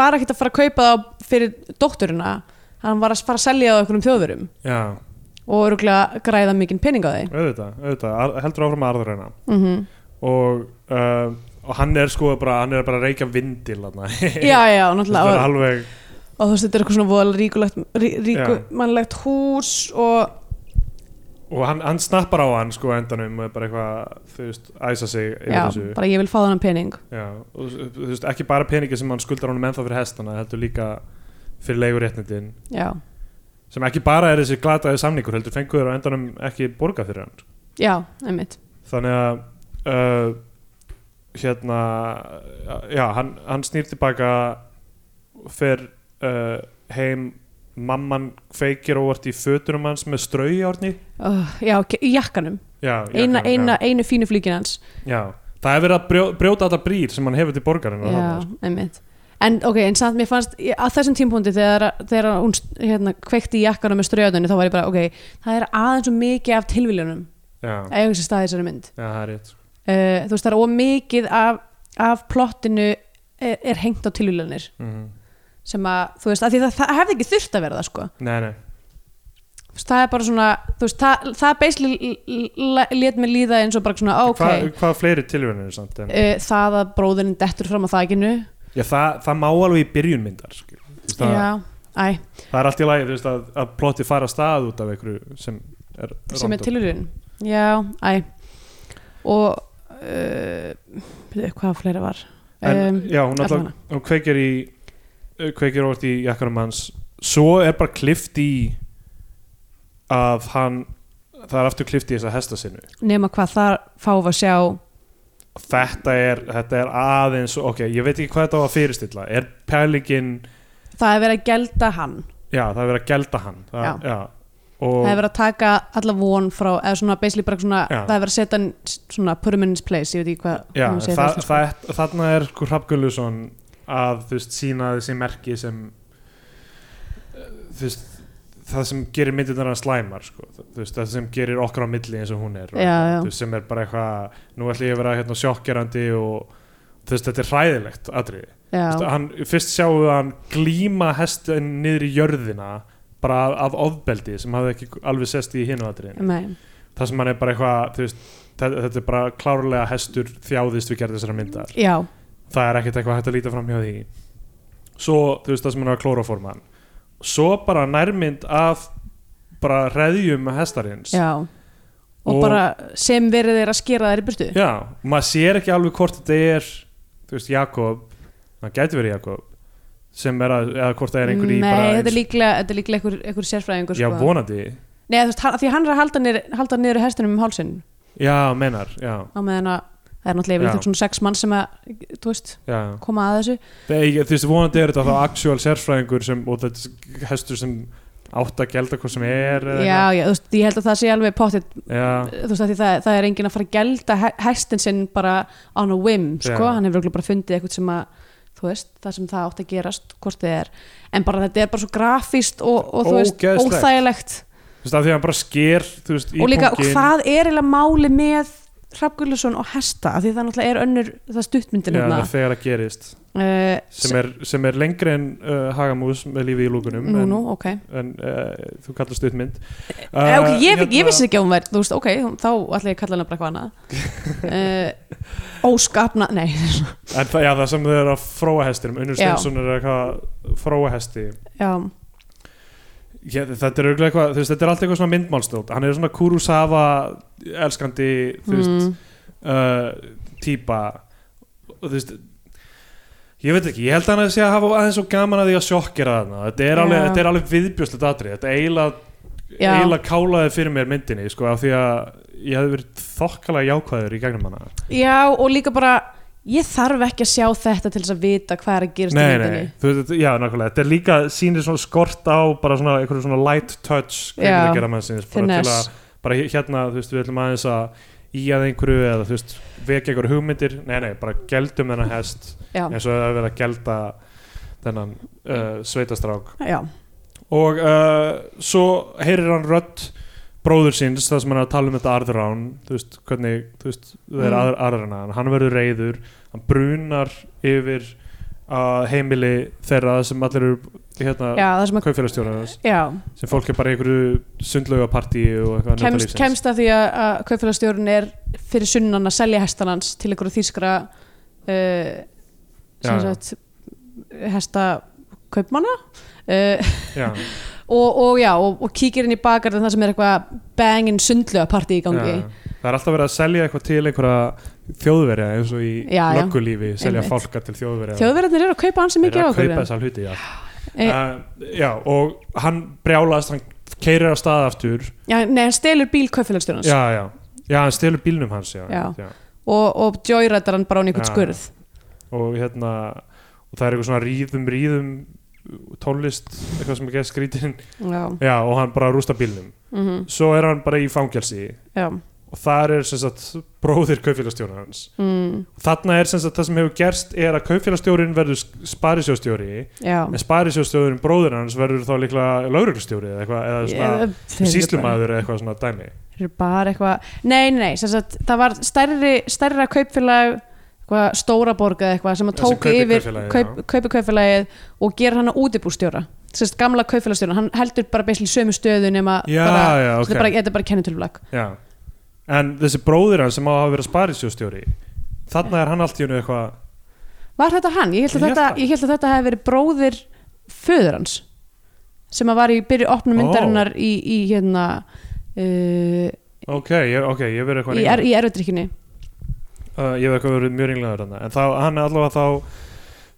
S2: var ekkert að fara að kaupa þá fyrir dótturina, hann var að fara að selja á einhverjum þjóðverum
S3: já,
S2: og öruglega græða mikinn pening á þeim
S3: auðvitað, auðvitað ar- heldur áfram að arðra hennar
S2: mm
S3: og, uh, og hann er sko bara, hann er bara að reykja vindil þarna.
S2: já, já, náttúrulega
S3: þetta
S2: og-
S3: er alveg
S2: og þú veist þetta er eitthvað svona voðalega ríkulegt rí, ríkumannlegt hús og
S3: og hann, hann snappar á hann sko á endanum og er bara eitthvað þú veist, æsa sig yfir
S2: já,
S3: þessu
S2: bara ég vil fá þannan pening
S3: já, og þú veist, ekki bara peningi sem hann skuldar honum ennþá fyrir hestana heldur líka fyrir leiguréttnindin
S2: já,
S3: sem ekki bara er þessi glataði samningur heldur fengur þér á endanum ekki borga fyrir hann sko.
S2: já, einmitt
S3: þannig að uh, hérna já, hann, hann snýr tilbaka fer uh, heim mamman kveikir óvart í fötunum hans með straujáðni
S2: oh, já, ke- í jakkanum,
S3: já,
S2: eina,
S3: jakkanum,
S2: eina, einu fínu flíkin hans
S3: já. já, það er verið að brjó, brjóta allar brýr sem hann hefur til borgarinn
S2: já, einmitt en ok, en samt mér fannst ég- að þessum tímpúndi þegar, þegar hún hérna, kveikti í jakkanum með ströðunni þá var ég bara, ok, það er aðeins og mikið af tilvílunum
S3: já, já,
S2: að ég hugsa staði þessari mynd
S3: það er rétt
S2: uh, þú veist, það er ómikið af, af plottinu er, er hengt á tilvílunir
S3: mm.
S2: sem að, þú veist, að því það, það hefði ekki þurft að vera það sko,
S3: nei, nei,
S2: Þú veist, það er bara svona þú veist, það, það beisli lét mér líða eins og bara svona, ok
S3: hvað, hvað fleiri tilvæmur er samt en,
S2: uh, það að bróðurinn dettur fram á þakinu
S3: já, það, það má alveg í byrjun myndar skil. Þú veist, það,
S2: já, æ,
S3: það er allt í lagi þú veist, að, að plotti fara af stað út af einhverju sem er
S2: sem er
S3: random.
S2: tilurinn já, æ og uh, byrju, hvað fleira var
S3: en, já, hún, alltaf,
S2: Um, allavega.
S3: hún kveikir í uh, kveikir óvart í jakkanum hans svo er bara klift í að hann það er aftur klift í þessa hesta sinu
S2: nema hvað þar fáum við að sjá
S3: þetta er, þetta er aðeins ok, ég veit ekki hvað þetta á að fyrirstilla er pælingin,
S2: það er verið að gelda hann
S3: já það er verið að gelda hann það,
S2: Já.
S3: og
S2: það er verið að taka alla von frá eða svona basically bara svona
S3: Já.
S2: það er verið að setja hann svona put him in his place ég veit ekki hvað
S3: já,
S2: hún
S3: það,
S2: segir
S3: það,
S2: það, sko.
S3: þarna er sko Hrafgullusson að þú veist sína þessi merki sem uh, þú veist það sem gerir myndirnar að slæmar sko. þú veist, það sem gerir okkar á milli eins og hún er
S2: Já, já.
S3: Þú veist, sem er bara eitthvað nú ætlum ég að vera hérna sjokkerandi og þú veist, þetta er hræðilegt atriði
S2: já,
S3: Þú veist, hann, fyrst sjáum við hann glíma hestin niður í jörðina bara af- af ofbeldi sem hafði ekki alveg sest í hinu atriðin
S2: nei,
S3: það sem hann er bara eitthvað þú veist, þetta, þetta er bara klárlega hestur þjáðist við gerð þessara myndar
S2: já,
S3: það er ekkert eitthvað hægt að líta fram hjá því svo þú veist það sem hann er að klóraforma hann svo bara nærmynd af bara reðjum hestarins
S2: já og,
S3: Og-
S2: bara sem verið er að skera þær í burtu
S3: Já, maður sér ekki alveg hvort þetta er þú veist Jakob það gæti verið Jakob sem er að, eða hvort það er einhver í bara
S2: nei, þetta
S3: eins-
S2: er líklega, þetta er líklega einhver, einhver sérfræðingur
S3: já,
S2: sko.
S3: vonandi,
S2: Nei, þú veist, hann- því hann er að halda, niður, halda niður hestunum um hálsinn
S3: já, meinar já,
S2: á meðan að það er náttúrulega
S3: Já.
S2: yfirleitt svona sex mann sem að, þú veist,
S3: já
S2: koma að þessu
S3: Þegar, ég- þú veist, vonandi er þetta þá actual sérfræðingur sem, og þetta er hestur sem átt að gelda hvað sem er eða
S2: já, já, þú veist, ég held að það sé alveg pottit
S3: eitthvað. já,
S2: þú veist, af því það, það er enginn að fara að gelda he- hestinn sinn bara on a whim sko,
S3: Já.
S2: hann hefur örugglega bara fundið eitthvað sem að þú veist, það sem það átt að gerast hvort þið er, en bara þetta er bara svo grafíst og, og þú veist,
S3: Ógeðslegt.
S2: óþægilegt
S3: þú veist, af því að hann bara sker þú veist, í
S2: og líka, og
S3: pungin.
S2: hvað er eiginlega máli með Hrafgullusson og hesta af því það náttúrulega er önnur, það stuttmyndin
S3: já,
S2: hérna.
S3: þegar það gerist
S2: uh,
S3: sem er, sem er lengri en uh, hagamús með lífi í lúkunum
S2: nú,
S3: en, Eh,
S2: nú, ok
S3: en uh, þú kallast upp mynd
S2: Uh, ok, ég, hérna... ég vissi ekki að hún væri, þú veist, ok, þá ætla ég að kalla hana bara eitthvað annað uh, Óskapna, nei,
S3: En það, já, það sem þau eru að fróa hestinum Unnur
S2: Já.
S3: Steinsson er eitthvað að fróa hesti
S2: já,
S3: ég, Þetta er auðvitað eitthvað, þú veist, þetta er allt eitthvað svona myndmálstótt Hann er svona Kurosawa elskandi, þú veist
S2: mm,
S3: uh, típa og þú veist Ég veit ekki, ég held að hann að sé að hafa aðeins svo gaman að því að sjokkera þarna Þetta er alveg,
S2: Já.
S3: þetta er alveg viðbjörslega datri Þetta er eiginlega
S2: Já.
S3: eiginlega kálaði fyrir mér myndinni sko, af því að ég hef verið þokkalega jákvæður í gegnum hana
S2: já, og líka bara, ég þarf ekki að sjá þetta til þess að vita hvað er að gerast í
S3: nei,
S2: myndinni
S3: nei, þú veist, já, nákvæmlega þetta er líka sýnir svona skort á bara svona einhverju svona light touch
S2: Já,
S3: kvikmyndagerðarmannsins, bara til
S2: finesse.
S3: að bara hé- hérna, þú veist, við ætlum aðeins að í að einhverju eða þú veist, vekja einhverju hugmyndir nei, nei, bara geldum þennan hest
S2: Já, Mm.
S3: eins og það er verið að gelda þennan uh, sveitastrák
S2: já,
S3: og uh, svo heyrir hann rödd bróður síns, það sem hann er að tala um þetta arðrán, þú veist, hvernig þú veist, það er
S2: Mm.
S3: mm. arðrana, hann verður reyður hann brunar yfir að heimili þeirra sem allir eru
S2: já,
S3: hérna
S2: það sem að,
S3: kaupfélagstjóraðans,
S2: já
S3: sem fólk er bara í einhverju sundlaugapartí og eitthvað að njóta
S2: kemst,
S3: lífsins.
S2: kemst að því að, að kaupfélagstjórun er fyrir sunnan að selja hestan hans til einhverju þýskra uh, sem
S3: Já, já.
S2: sagt hesta kaupmanna uh,
S3: já,
S2: og, og já, og, og kíkir inn í bakarðin það sem er eitthvað bangin sundlega partí í gangi
S3: já. það er alltaf verið að selja eitthvað til einhverja þjóðverja eins og í
S2: Já, já.
S3: löggulífi, selja
S2: Einmitt.
S3: fólka til þjóðverja
S2: þjóðverðarnir eru að kaupa hans
S3: Þeir
S2: mikið
S3: eru
S2: á
S3: að
S2: okkur
S3: kaupa þessa hluti, já
S2: Eh.
S3: uh, já, og hann brjálast hann keirir á stað aftur
S2: já, nei, hann stelur bíl kaupfélagstjórnans
S3: já, já, já, hann stelur bílnum hans já,
S2: Já.
S3: já.
S2: og, og joyrætar hann bara á einhvern
S3: Já.
S2: skurð
S3: og hérna og það er eitthvað svona ríðum, ríðum tónlist, eitthvað sem ekki er skrítin
S2: já,
S3: já, og hann bara rústa bílnum
S2: mhm,
S3: svo er hann bara í fangelsi
S2: já
S3: og þar er sem sagt bróðir kaupfélagstjóra hans
S2: mm,
S3: þarna er sem sagt það sem hefur gerst er að kaupfélagstjórin verður sparisjóðstjóri
S2: já
S3: en sparisjóðstjórin bróðir hans verður þá líklega lauruglustjóri eða eitthvað, eða svona
S2: Ég- þeir eru bara-
S3: síslumaður eða eitthvað svona dæmi
S2: þeir eru bara eitthvað nei, nei, nei, sem sagt, það var stærri stærra kaupfélag eitthvað, stóra borga eða eitthvað sem að
S3: Já, sem
S2: tóku
S3: kaupir
S2: yfir
S3: kaupfélagið, já.
S2: kaup, kaupi kaupfélagið og gera hann að útibústjóra sem sagt, gamla kaupfélagstjóra, hann heldur bara beislega sömu stöðu nema
S3: Já,
S2: bara,
S3: já,
S2: þetta
S3: ok.
S2: er bara, þetta er bara kennitölflag
S3: já. en þessi bróðir hans sem á að vera sparisjóðstjóri þarna er hann allt í hennu eitthvað
S2: Var þetta hann? Ég held
S3: Ég
S2: að,
S3: held
S2: þetta,
S3: það.
S2: ég held að þetta hefði verið bróðir föður hans sem að var í byrju opnum
S3: Ó.
S2: myndarinnar í, í hérna uh,
S3: ok, ég, okay, ég verður eitthvað
S2: í, er,
S3: ringlaður.
S2: í erudrykkinni
S3: uh, ég verður eitthvað verið mjög ringlaður þarna en þá, hann er allavega þá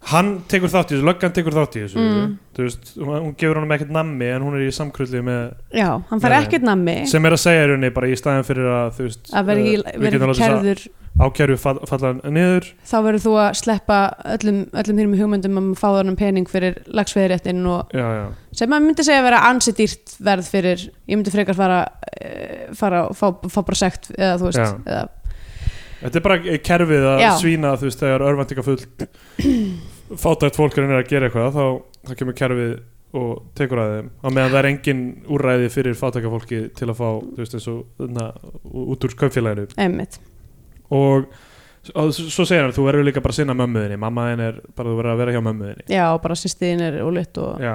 S3: hann tekur þátt í þessu, löggan tekur þátt í þessu
S2: Mm.
S3: þú veist, hún, hún gefur honum ekkert nammi en hún er í samkrulli með
S2: Já, hann fær
S3: Nei, nei.
S2: ekkert nammi
S3: sem er að segja í rauninni bara í staðin fyrir að þú veist,
S2: Eh. að vera
S3: uh,
S2: ekki
S3: við
S2: verið
S3: getum
S2: ekki
S3: látið þessa
S2: kærður
S3: ákæru fall- falla niður
S2: þá verður þú að sleppa öllum, öllum þínum hugmyndum um að fá þannig pening fyrir lagsveðréttin og
S3: já, já,
S2: sem maður myndi segja að vera ansi dýrt verð fyrir ég myndi frekar fara, eh, fara fá, fá bara sekt eða þú veist
S3: Já.
S2: eða,
S3: Þetta er bara eh, kerfið að
S2: Já.
S3: svína þú veist þegar örvendinga full fátækt fólk er að gera eitthvað þá, þá kemur kerfið og tekur að þeim á meðan það er engin úrræði fyrir fátæka fólki til að fá þú veist eins og na, út úr kaupfélaginu
S2: einmitt
S3: og og s- svo segir hann þú verður líka bara að sinna mömmuðinni mammaðin er bara þú verður að vera hjá mömmuðinni
S2: Já, bara sýstiðin er ólitt og
S3: já,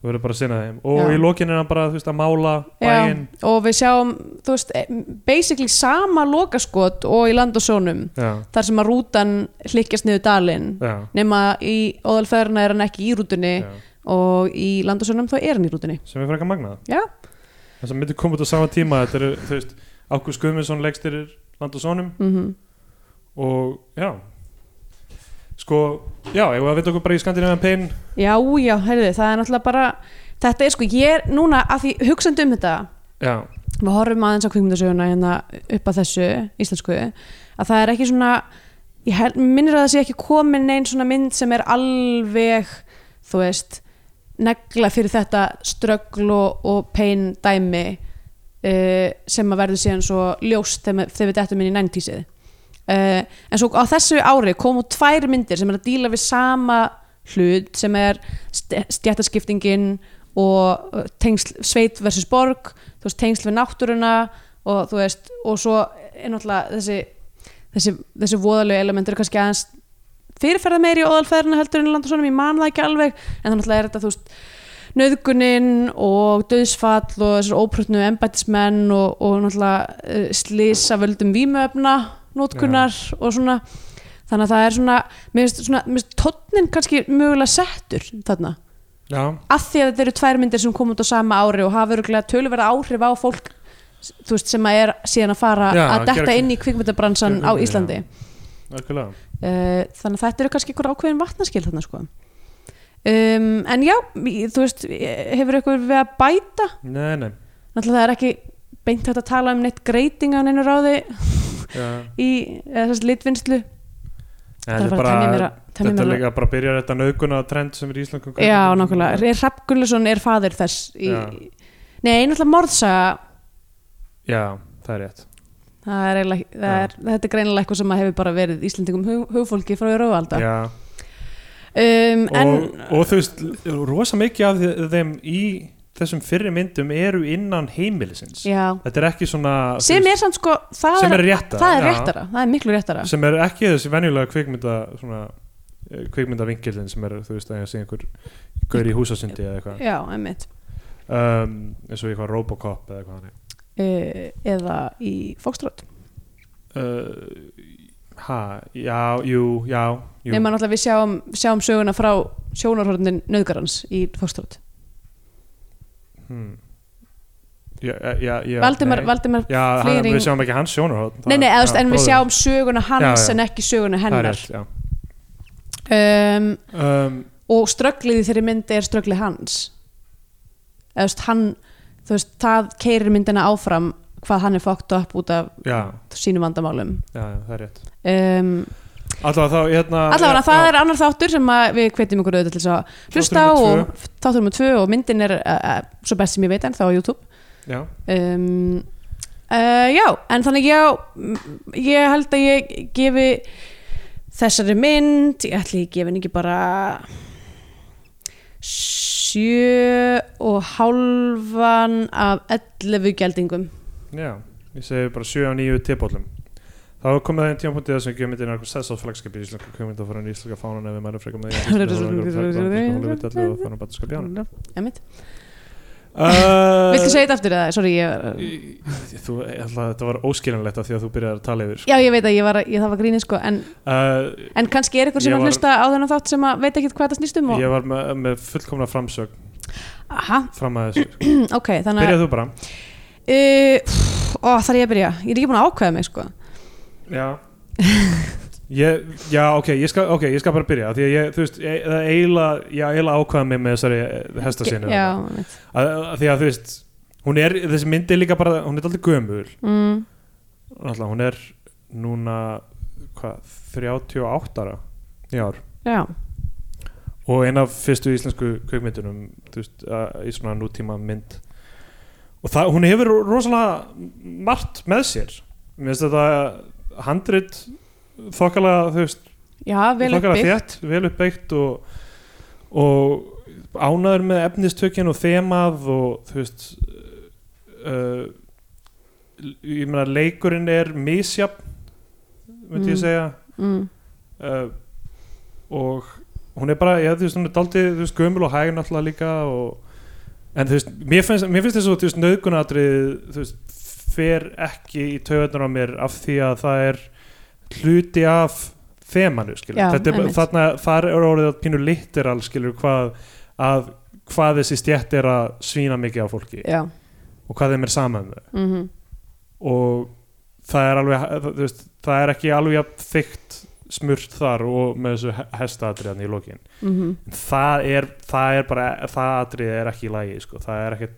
S3: þú verður bara að sinna þeim og
S2: Já.
S3: í lokin er hann bara þú veist að mála
S2: Já,
S3: bæinn
S2: og við sjáum þú veist, eh, basically sama lokaskot og í land og sónum
S3: já,
S2: þar sem að rútan hlykkjast niður dalinn
S3: já,
S2: nema í óðalferðina er hann ekki í rútunni
S3: já.
S2: og í land og sónum þá er hann í rútunni
S3: sem er frekar magnað
S2: Já.
S3: þess að myndi koma út á sama tíma þetta eru, þú veist, Ákvist Guðmundsson leggstyrir land og sonum
S2: mm
S3: og já sko, já, ég var að vita okkur bara í Skandinavian Pain
S2: Já, já, heyrðu, það er náttúrulega bara þetta er sko, ég er núna að því hugsandi um þetta
S3: já,
S2: við horfum aðeins á kvikmyndasöguna hérna upp að þessu íslensku að það er ekki svona ég hel, minnir að það sé ekki komin neinn svona mynd sem er alveg þú veist, negla fyrir þetta ströggl og, og pain dæmi uh, sem að verður síðan svo ljóst þegar, ma- þegar við dettum inn í 90-sið uh, en svo á þessu ári komu tvær myndir sem er að díla við sama hlut sem er st- stjættaskiptingin og uh, tengsl, sveit versus borg þú veist, tengsl við náttúruna og þú veist, og svo er náttúrulega þessi, þessi, þessi voðalegu elementur kannski aðeins fyrirferða meiri í óðalferðina heldur en í land og svona, ég man það ekki alveg en það náttúrulega er þetta, þú veist nöðgunin og döðsfall og þessar óprutnu embætismenn og, og náttúrulega uh, slisa völdum vímöfna nótkunar og svona þannig að það er svona, mér finnst svona mér finnst tónnin kannski mögulega settur þarna
S3: já,
S2: að því að þetta eru tvær myndir sem kom út á sama ári og hafa öruglega töluverða áhrif á fólk þú veist, sem að er síðan að fara
S3: Já,
S2: að detta
S3: gera-
S2: inn í kvikmyndabransan á
S3: gera kvikmyndir,
S2: Íslandi
S3: já. algjörlega
S2: uh, þannig að þetta eru kannski einhver ákveðin vatnaskil þarna sko um, en já, í- þú veist hefur eitthvað við að bæta
S3: nei, nei,
S2: náttúrulega það er ekki beint hægt að tala um neitt greiting á neinu ráði
S3: já.
S2: í eða þess litvinnslu
S3: þetta er
S2: bara að temja mér
S3: bara
S2: að- temja
S3: þetta
S2: mér
S3: er
S2: að-
S3: líka bara að byrja þetta nöðguna trend sem er í Íslandum
S2: Já, nákvæmlega, Rapp Gullusson er faðir þess í...
S3: Já.
S2: Nei, náttúrulega morðsaga
S3: já, það er rétt
S2: það er eiginlega, ekki- það
S3: Já.
S2: er, þetta er greinilega eitthvað sem að hefur bara verið Íslendingum hug, hugfólki frá Jóra Valda
S3: já.
S2: um,
S3: og,
S2: en,
S3: og þú veist, rosa mikið af þe- þeim í þessum fyrri myndum eru innan heimilisins
S2: já,
S3: þetta er ekki svona þú
S2: sem
S3: veist,
S2: er samt sko það er,
S3: sem er réttara,
S2: það er
S3: já.
S2: réttara, það er miklu réttara
S3: sem er ekki þessi venjulega kvikmynda svona, eh, kvikmyndavingillin sem er þú veist að ég sé einhver gaur í húsasundi eða eitthvað
S2: Já, einmitt
S3: um, eins og í eitthvað Robocop eða eitthvað hannig
S2: uh, eða í Fokstrót
S3: uh, ha, já, jú, já jú.
S2: nema náttúrulega við sjáum, sjáum söguna frá sjónarhornin nöðgarans í Fokstrót
S3: hmm. já, eh, já, já
S2: Valdimar,
S3: nei.
S2: Valdimar
S3: já, hann,
S2: Flyring-
S3: við sjáum ekki hans sjónarhótt
S2: Nei, nei, eða, þú veist, en við sjáum söguna hans
S3: Já, já.
S2: en ekki söguna hennar
S3: já.
S2: um,
S3: Um,
S2: og strögglið í þeirri myndi er strögglið hans eða þú veist, hann þú veist, það keirir myndina áfram hvað hann er fókt upp út af
S3: já,
S2: sínum vandamálum
S3: já, já, það er rétt
S2: um,
S3: Alltaf þá, hérna
S2: Allavega,
S3: já,
S2: það
S3: já.
S2: er annar þáttur sem að við hvetjum ykkur auðvitað til þess að hlusta á
S3: Þáttur númer
S2: og þáttur um tvö og myndin er uh, uh, svo best sem ég veit en þá á YouTube
S3: Já,
S2: um, uh, Já, en þannig já m- ég held að ég gefi þessari mynd ég ætli ég gefi henni ekki bara sjö og hálfan af 11 gældingum
S3: já, ég segi bara 7 á 9 tilbóllum Þá er komið það einn tímapunktið þar sem gefum myndin eitthvað sessað flagskip í íslenska kvikmynda og fór hann í íslenska fánan ef við mælum frekar með því að íslenska
S2: Einmitt.
S3: fánan
S2: Viltu segja þetta aftur eða? Sorry, ég,
S3: Uh, Í- Þú, ég ætla að þetta var óskilinlegt af því að þú byrjaði að tala yfir
S2: já ég veit að ég, var, ég það var grínið sko en
S3: uh,
S2: En kannski er ykkur sem
S3: Ég
S2: er að
S3: var-
S2: hlusta á þennan þátt sem að veit ekki hvað það snýst um og...
S3: Ég var með, með fullkomna framsögn
S2: Aha, mm,
S3: fram að þessu
S2: ok, þannig að...
S3: Byrjaðu þú bara
S2: Uh, ó, þar er ég að byrja. Ég er ekki búin að ákveða mig, sko.
S3: Já Ég, já, ok, ég skal, ok, ég skal bara byrja af Því að ég, þú veist, ég, það eiginlega Ég eiginlega ákvaða mig með þessari eh, hestasinu
S2: Já, mitt.
S3: Því að þú veist, hún er, þessi myndi er líka bara Hún er alltaf gömul
S2: Mm,
S3: Alltaf, hún er núna Hvað, 38 ára í ár
S2: já,
S3: og eina af fyrstu íslensku kveikmyndunum þú veist, að- í svona nútíma mynd og það, hún hefur rosalega margt með sér mér finnst þetta handrit þokkalega, þú veist
S2: já, vel
S3: þokkalega
S2: uppið.
S3: þétt, vel uppbyggt og, og ánæður með efnistökin og þemað og þú veist uh, ég meina leikurinn er misjafn myndi
S2: Mm.
S3: ég segja
S2: Mm,
S3: uh, og hún er bara, já þú veist, hún er daldið þú veist, gömul og hæg náttúrulega líka og, en þú veist, mér finnst, mér finnst þessu þú veist, nöðgunatrið, þú veist fer ekki í taugarnar á mér af því að það er hluti af þemanu, skilur
S2: Já,
S3: Þetta er, bara-
S2: einmitt.
S3: þarna, þar er orðið að pínu litteral, skilur, hvað að hvað þessi stjætt er að svína mikið á fólki
S2: já.
S3: og hvað þeim er sama um þau
S2: Mm
S3: og það er alveg þú veist, það er ekki alveg jafn þykkt smurt þar og með þessu hestaatriðan í lokin
S2: mhm.
S3: En það er, það er bara, það atrið er ekki í lagi sko. það er ekki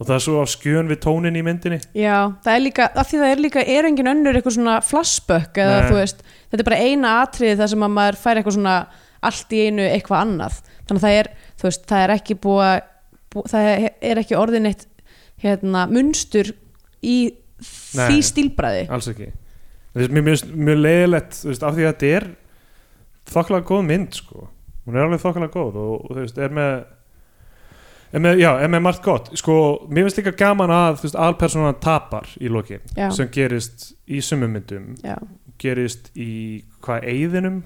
S3: og það er svo á skjön við tónin í myndinni
S2: já, það er líka, af því það er líka, er engin önnur eitthvað svona flashback eða
S3: Nei.
S2: þú veist, þetta er bara eina atrið þar sem að maður fær eitthvað svona allt í einu eitthvað annað. Þannig að það er, þú veist, það er ekki búa, bú, það er ekki orðin eitt, hérna, munstur í því
S3: Nei.
S2: stílbræði.
S3: alls ekki Þú veist, mér finnst mjög leiðilegt þú veist, af því að þetta er þokkalega góð mynd sko. hún er alveg þokkalega góð og, og þú veist, er með er með, já, er með margt gott sko, mér finnst líka gaman að þú veist, alpersonan tapar í lokin
S2: Já.
S3: sem gerist í sumum myndum
S2: Já,
S3: gerist í hvað eigðinum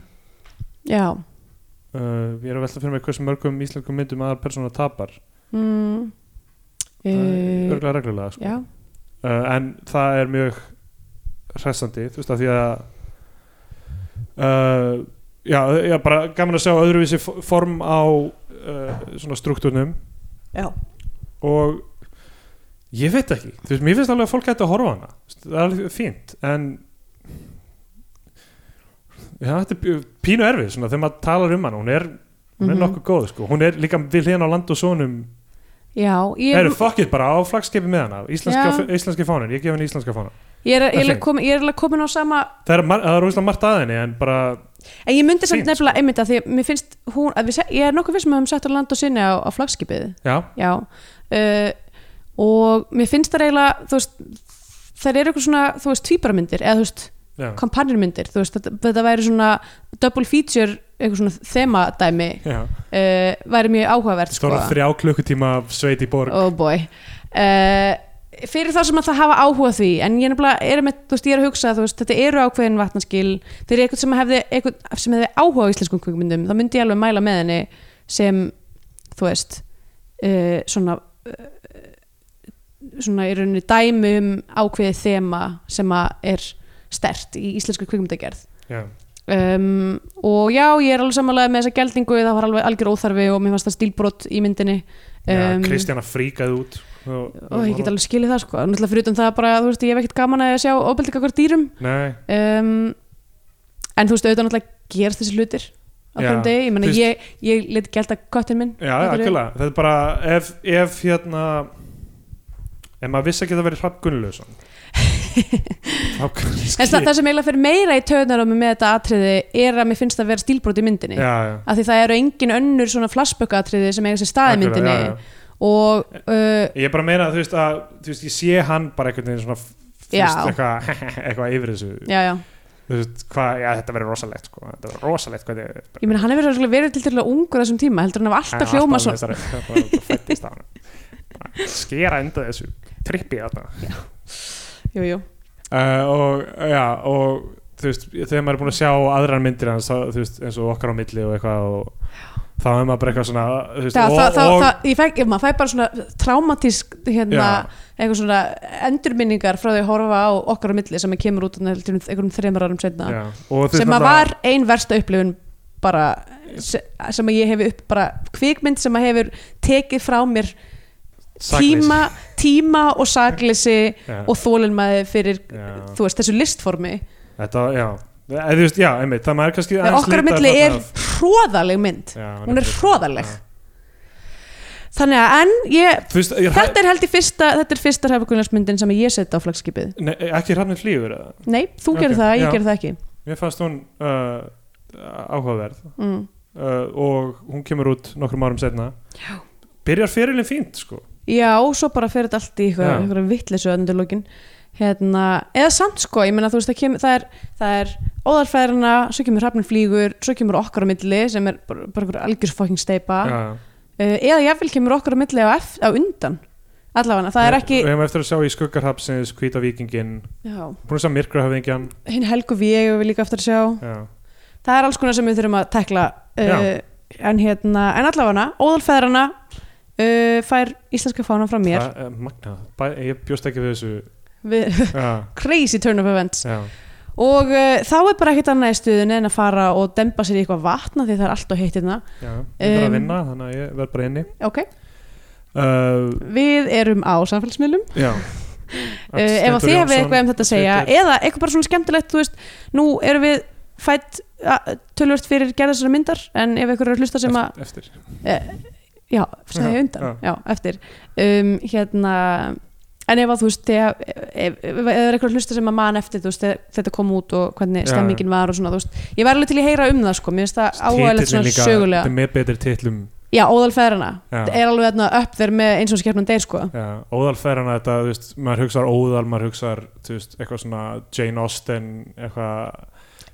S2: já.
S3: uh, ég er að velta fyrir mig hversu mörgum íslenskum myndum aðal persóna tapar
S2: Mm.
S3: uh,
S2: Uh,
S3: örglega reglulega sko.
S2: já,
S3: uh, en það er mjög hressandi þú veist að því að uh, já, já, bara gaman að sjá öðruvísi fo- form á uh, svona struktúrnum
S2: já.
S3: og ég veit ekki, þú veist, mér finnst alveg að fólk gæti að horfa á hana, Þú veist, það er alveg fínt en já, þetta er pí- pínu erfið svona, þegar maður talar um hana, hún er hún er
S2: Mhm.
S3: nokkuð góð, sko, hún er líka við hliðan á land og sonum,
S2: Já, ég,
S3: ég... eru fokkið bara á flagskipi með hana, íslenska, íslenski fánin ég gef henni íslenska fánin,
S2: ég er, ég, er
S3: Fínt.
S2: komin, ég er alveg komin á sama
S3: það er, mar- það er rúslega margt að henni en bara,
S2: en ég myndi samt
S3: Fínt, sko.
S2: nefnilega einmitt að því að mér finnst hún, að við, se- ég er nokkuð fyrst sem við höfum sett á land og sinni á, á flagskipið
S3: já
S2: já uh, og mér finnst það eiginlega þú veist, það eru eitthvað svona þú veist, tvíbramyndir eða þú veist,
S3: já,
S2: kampanjarmyndir þú veist, þetta, þetta væri svona double feature, eitthvað svona þemadæmi
S3: já.
S2: uh, væri mjög áhugavert
S3: stóra
S2: sko.
S3: þrjá klukkutíma af sveit í borg
S2: oh boy uh, fyrir þá sem að það hafa áhuga á því en ég er nefnilega, er með, þú veist, ég er að hugsa þú veist, þetta eru ákveðin vatnaskil þeir eru eitthvað sem hefði, eitthvað, sem hefði áhuga á íslenskum kvikmyndum, þá myndi ég alveg mæla með henni sem, þú veist uh, svona uh, svona í rauninni dæmi um ákveðið þema sem að er stert í íslensku kvikmyndagerð
S3: já,
S2: um, og já, ég er alveg samanlega með þessa geldingu, það var alveg algjör óþarfi og mér fannst það stílbrot í myndinni
S3: já
S2: Um,
S3: Kristjana fríkaði út og,
S2: og ég get alveg skilið það sko náttúrulega fyrir utan það bara, þú veist, ég hef ekkert gaman að sjá óbeldi kakvar dýrum
S3: nei,
S2: um, en þú veist, auðvitað náttúrulega gerst þessi hlutir á
S3: Já,
S2: hverjum degi, ég menna,
S3: þú veist-
S2: ég, ég let gælda köttin minn
S3: Já, akkurlega, þetta er bara ef, ef hérna ef maður vissi ekki að það verið Hrafn Gunnlauson þá kannski
S2: En það, það sem eiginlega fyrir meira í töðnarum með þetta atriði er að mér finnst það að vera stílbrot í myndinni
S3: já, já.
S2: af því það eru engin önnur svona flashback atriði sem eiga sér stað í
S3: Akkurat,
S2: myndinni
S3: já, já.
S2: og uh,
S3: Ég er bara að meina þú veist að þú veist, ég sé hann bara einhvern veginn svona f- þú
S2: Já.
S3: veist, eitthvað eitthvað yfir þessu
S2: já, já,
S3: þú veist hvað, já þetta verður rosalegt sko. þetta verður rosalegt hvað þetta
S2: ég meina hann hefur örugglega verið til til að ungur á þessum tíma, heldur hann hafa
S3: Hann er
S2: alltaf hljóma svo
S3: þessari- bara- bara fæddist á hann. Bara skera undan þessu trippi þarna
S2: jú, jú.
S3: uh, og já og þú veist þegar maður er búin að sjá aðrar myndir hans þá, þú veist eins og okkar á milli og eitthvað og þá er maður bara eitthvað svona þú veist,
S2: Það,
S3: og,
S2: það, það,
S3: og,
S2: það, ég fæk, maður fæ bara svona traumatísk hérna,
S3: Já.
S2: eitthvað svona endurminningar frá því að horfa á okkar á milli sem kemur út þarna til einhverjum þreymar árum setna
S3: já, og, þú veist,
S2: sem að
S3: þarna-
S2: var ein versta upplifun bara se- sem að ég hef upp bara kvikmynd sem að hefur tekið frá mér
S3: Sakleysi.
S2: tíma, tíma og saklisi
S3: Já.
S2: og þólinmaði fyrir
S3: Já.
S2: þú veist, þessu listformi
S3: þetta, já, eða, þú veist, já, einmitt það maður er kannski
S2: Þegar
S3: aðeins
S2: okkar á
S3: litar
S2: milli er
S3: þarna af-
S2: hróðaleg mynd
S3: Já,
S2: hún er
S3: nefnilega.
S2: hróðaleg
S3: Já.
S2: þannig að en ég,
S3: Þú veist, ég-
S2: þetta er held ég fyrsta þetta er fyrsta hræfakunnarsmyndin sem ég setja á flagskipið
S3: Nei, ekki hrafnir flýgur eða?
S2: nei, þú
S3: Ok,
S2: gerir það, ég
S3: já.
S2: gerir það ekki
S3: Mér fannst hún uh, áhugaverð
S2: mm.
S3: uh, og hún kemur út nokkrum árum setna Já. Byrjar fyrirlin fínt sko
S2: Já, svo bara fer þetta allt í
S3: Já.
S2: eitthvað einhverja vitleysu öðnundur lókin hérna, eða samt sko, ég meina þú veist það, kem, það er, það er óðarfæðrana svo kemur hrafnin flýgur, svo kemur okkar á milli sem er bara, bara einhverja algjör fucking steipa uh,
S3: Já.
S2: eða jafnvel kemur okkar á milli á, ef, á undan, allavega það er ekki
S3: Við hefum eftir að sjá í skuggarhapsins Hvíta vikingin
S2: já,
S3: Búin að sjá myrkrahöfingjan
S2: hinn helgu við ég við líka eftir að sjá,
S3: Já,
S2: það er alls konar sem við þurfum að tekla uh,
S3: Já.
S2: en hérna, en allavega óðarfæðrana uh, fær íslenska fána frá mér
S3: það er magnað Bæ, Ég bjóst ekki við þessu
S2: við,
S3: Já,
S2: crazy turn of events
S3: já,
S2: og uh, þá er bara ekkert annað í stuðinu en að fara og dempa sér í eitthvað vatna því það er allt og heitt hérna
S3: já Ég þarf
S2: Um,
S3: að vinna, þannig að ég verð bara inni
S2: ok,
S3: uh,
S2: við erum á samfélagsmiðlum uh,
S3: Já
S2: ef að þið hefur eitthvað um þetta að segja eða eitthvað bara svona skemmtilegt, þú veist nú erum við fætt a- tölvört fyrir gerða þessari myndar en ef eitthvað er að hlusta sem að
S3: Eftir
S2: já, sagði
S3: Já,
S2: ég undan, já, eftir um, hérna en ef að þú veist ef, ef, ef, ef er eitthvað hlusta sem að man eftir þú veist, þegar þetta kom út og hvernig
S3: Já.
S2: stemmingin var og svona, þú veist, ég var alveg til í að heyra um það sko, mér finnst það áhægilegt svona sögulega
S3: Það er með betri titlum
S2: Já, óðalfeðrana
S3: Já.
S2: er alveg þarna upp þeir með eins og skepnan deyr sko
S3: Já, óðalferðana þetta, þú veist, maður hugsar óðal, maður hugsar, þú veist, eitthvað svona Jane Austen, eitthvað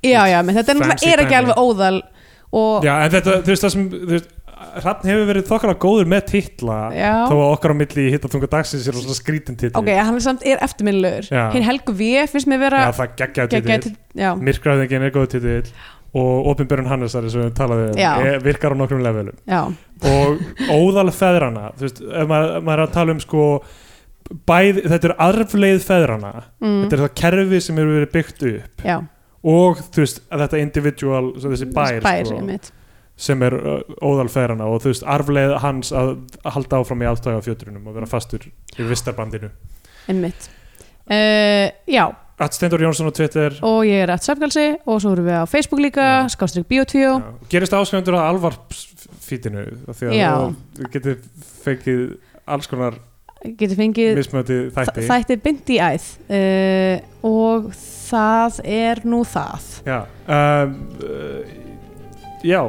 S2: Já, já, menn þetta er, náttúrulega-
S3: Fancy
S2: er ekki
S3: dæmi.
S2: alveg óðal og
S3: Já, en þetta, þú veist, það sem, þú veist, Hrafn hefur verið þokkala góður með titla
S2: Já.
S3: þó að okkar á milli hitta tunga dagsins er svona skrítin titli
S2: ok, hann er samt er eftirminnilegur
S3: Já.
S2: hinn Helgu V finnst mér vera
S3: Já, það geggja titill,
S2: geggjaður til- Já,
S3: myrkraðingin er góð titill og Opinberun Hannesari sem við talaði um
S2: Já.
S3: er, virkar á nokkrum levelum
S2: já,
S3: og óðal feðrana þú veist, ef maður, ef maður er að tala um sko bæð, þetta er arfleið feðrana þetta er það kerfi sem hefur verið byggt upp
S2: mm, já
S3: og þú veist, að þetta individual svo þessi bær,
S2: Spær,
S3: sko,
S2: einmitt.
S3: sem er uh, óðal feðrana og þú veist, arfleið hans að halda áfram í aftaga fjötrunum og vera fastur í vistarbandinu
S2: einmitt uh, Já,
S3: At Steindor Jónsson og Twitter
S2: og ég er að svefgalsi og svo erum við á Facebook líka,
S3: Já.
S2: skástrík biotvíó
S3: já, gerist áskjöndur að alvarpsfítinu því
S2: Já.
S3: að þú getur fengið alls konar
S2: getur fengið
S3: mismöti þætti
S2: þætti, þætti byndi í æð uh, og það er nú það
S3: Já um, uh, Já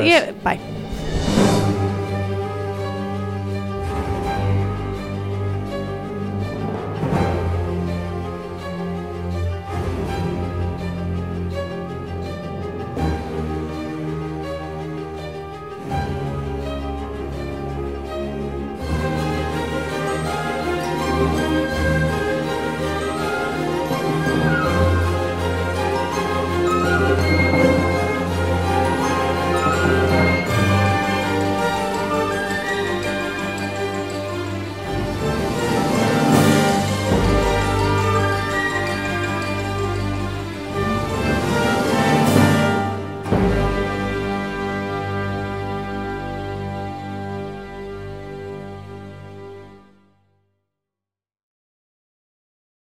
S2: ég, Bæ